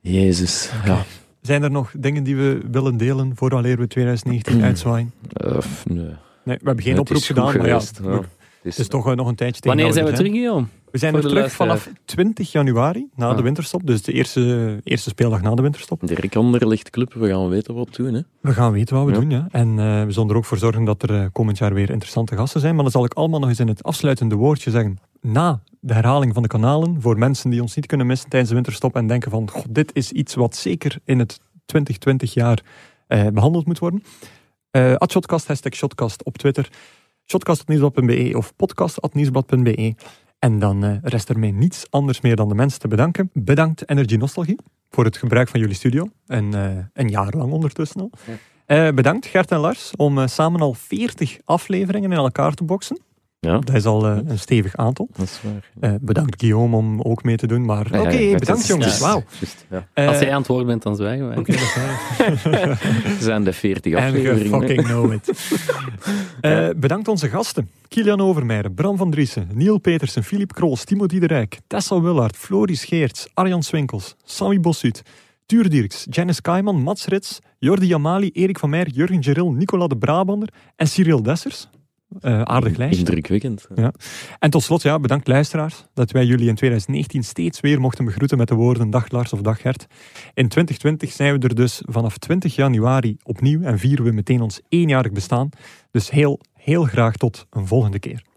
C: Jezus. Ja.
A: Zijn er nog dingen die we willen delen vooraleer we 2019 uitzwaaien?
C: Eh, f- nee.
A: Nee, we hebben geen
C: Het is
A: oproep
C: goed
A: gedaan, maar ja,
C: geweest, ja.
A: het
C: Het
A: is toch eh, nog een tijdje tegen
B: Wanneer
A: dat
B: zijn we
A: er
B: terug, Guillaume?
A: We zijn
B: Voor
A: er
B: de
A: terug
B: luisteraar.
A: vanaf 20 januari, na de
B: Ah.
A: winterstop. Dus de eerste, eerste speeldag na de winterstop.
C: Dirk Anderlicht Club, we gaan weten wat doen. Hè.
A: We gaan weten wat we
C: Ja.
A: doen, ja. En eh, we zullen er ook voor zorgen dat er eh, komend jaar weer interessante gasten zijn. Maar dat zal ik allemaal nog eens in het afsluitende woordje zeggen. Na de herhaling van de kanalen, voor mensen die ons niet kunnen missen tijdens de winterstop en denken van, "Goh, dit is iets wat zeker in het 2020 jaar eh, behandeld moet worden. Eh @shotcast, hashtag shotcast op Twitter, shotcast.nieuwsblad.be of podcast.nieuwsblad.be. En dan eh, rest er mij niets anders meer dan de mensen te bedanken. Bedankt Energy Nostalgie voor het gebruik van jullie studio. En, eh, een jaar lang ondertussen al. Eh, bedankt Gert en Lars om eh, samen al 40 afleveringen in elkaar te boksen.
C: Ja.
A: Dat is al eh, een stevig aantal.
C: Dat is waar.
A: Eh, bedankt Guillaume om ook mee te doen. Maar eh, oké, bedankt jongens.
B: ja.
A: Wauw. Eh,
B: Als jij aan het woord bent, dan zwijgen wij.
A: oké, dat is waar.
C: zijn de 40
A: En je
C: afleveringen.
A: fucking know it. Eh, bedankt onze gasten. Kilian Overmeijer, Bram van Driessen, Niel Petersen, Filip Krols, Timo Diederijk, Tessa Willard, Floris Geerts, Arjan Swinkels, Sammy Bossuut, Tuur Dirks, Janice Kaiman, Mats Rits, Jordi Jamali, Erik van Meijer, Jurgen Geril, Nicola de Brabander en Cyril Dessers. Eh, aardig lijstje.
C: Indrukwekkend.
A: En tot slot, ja, bedankt luisteraars dat wij jullie in 2019 steeds weer mochten begroeten met de woorden dag Lars of dag Gert. In 2020 zijn we er dus vanaf 20 januari opnieuw en vieren we meteen ons éénjarig bestaan. Dus heel, heel graag tot een volgende keer.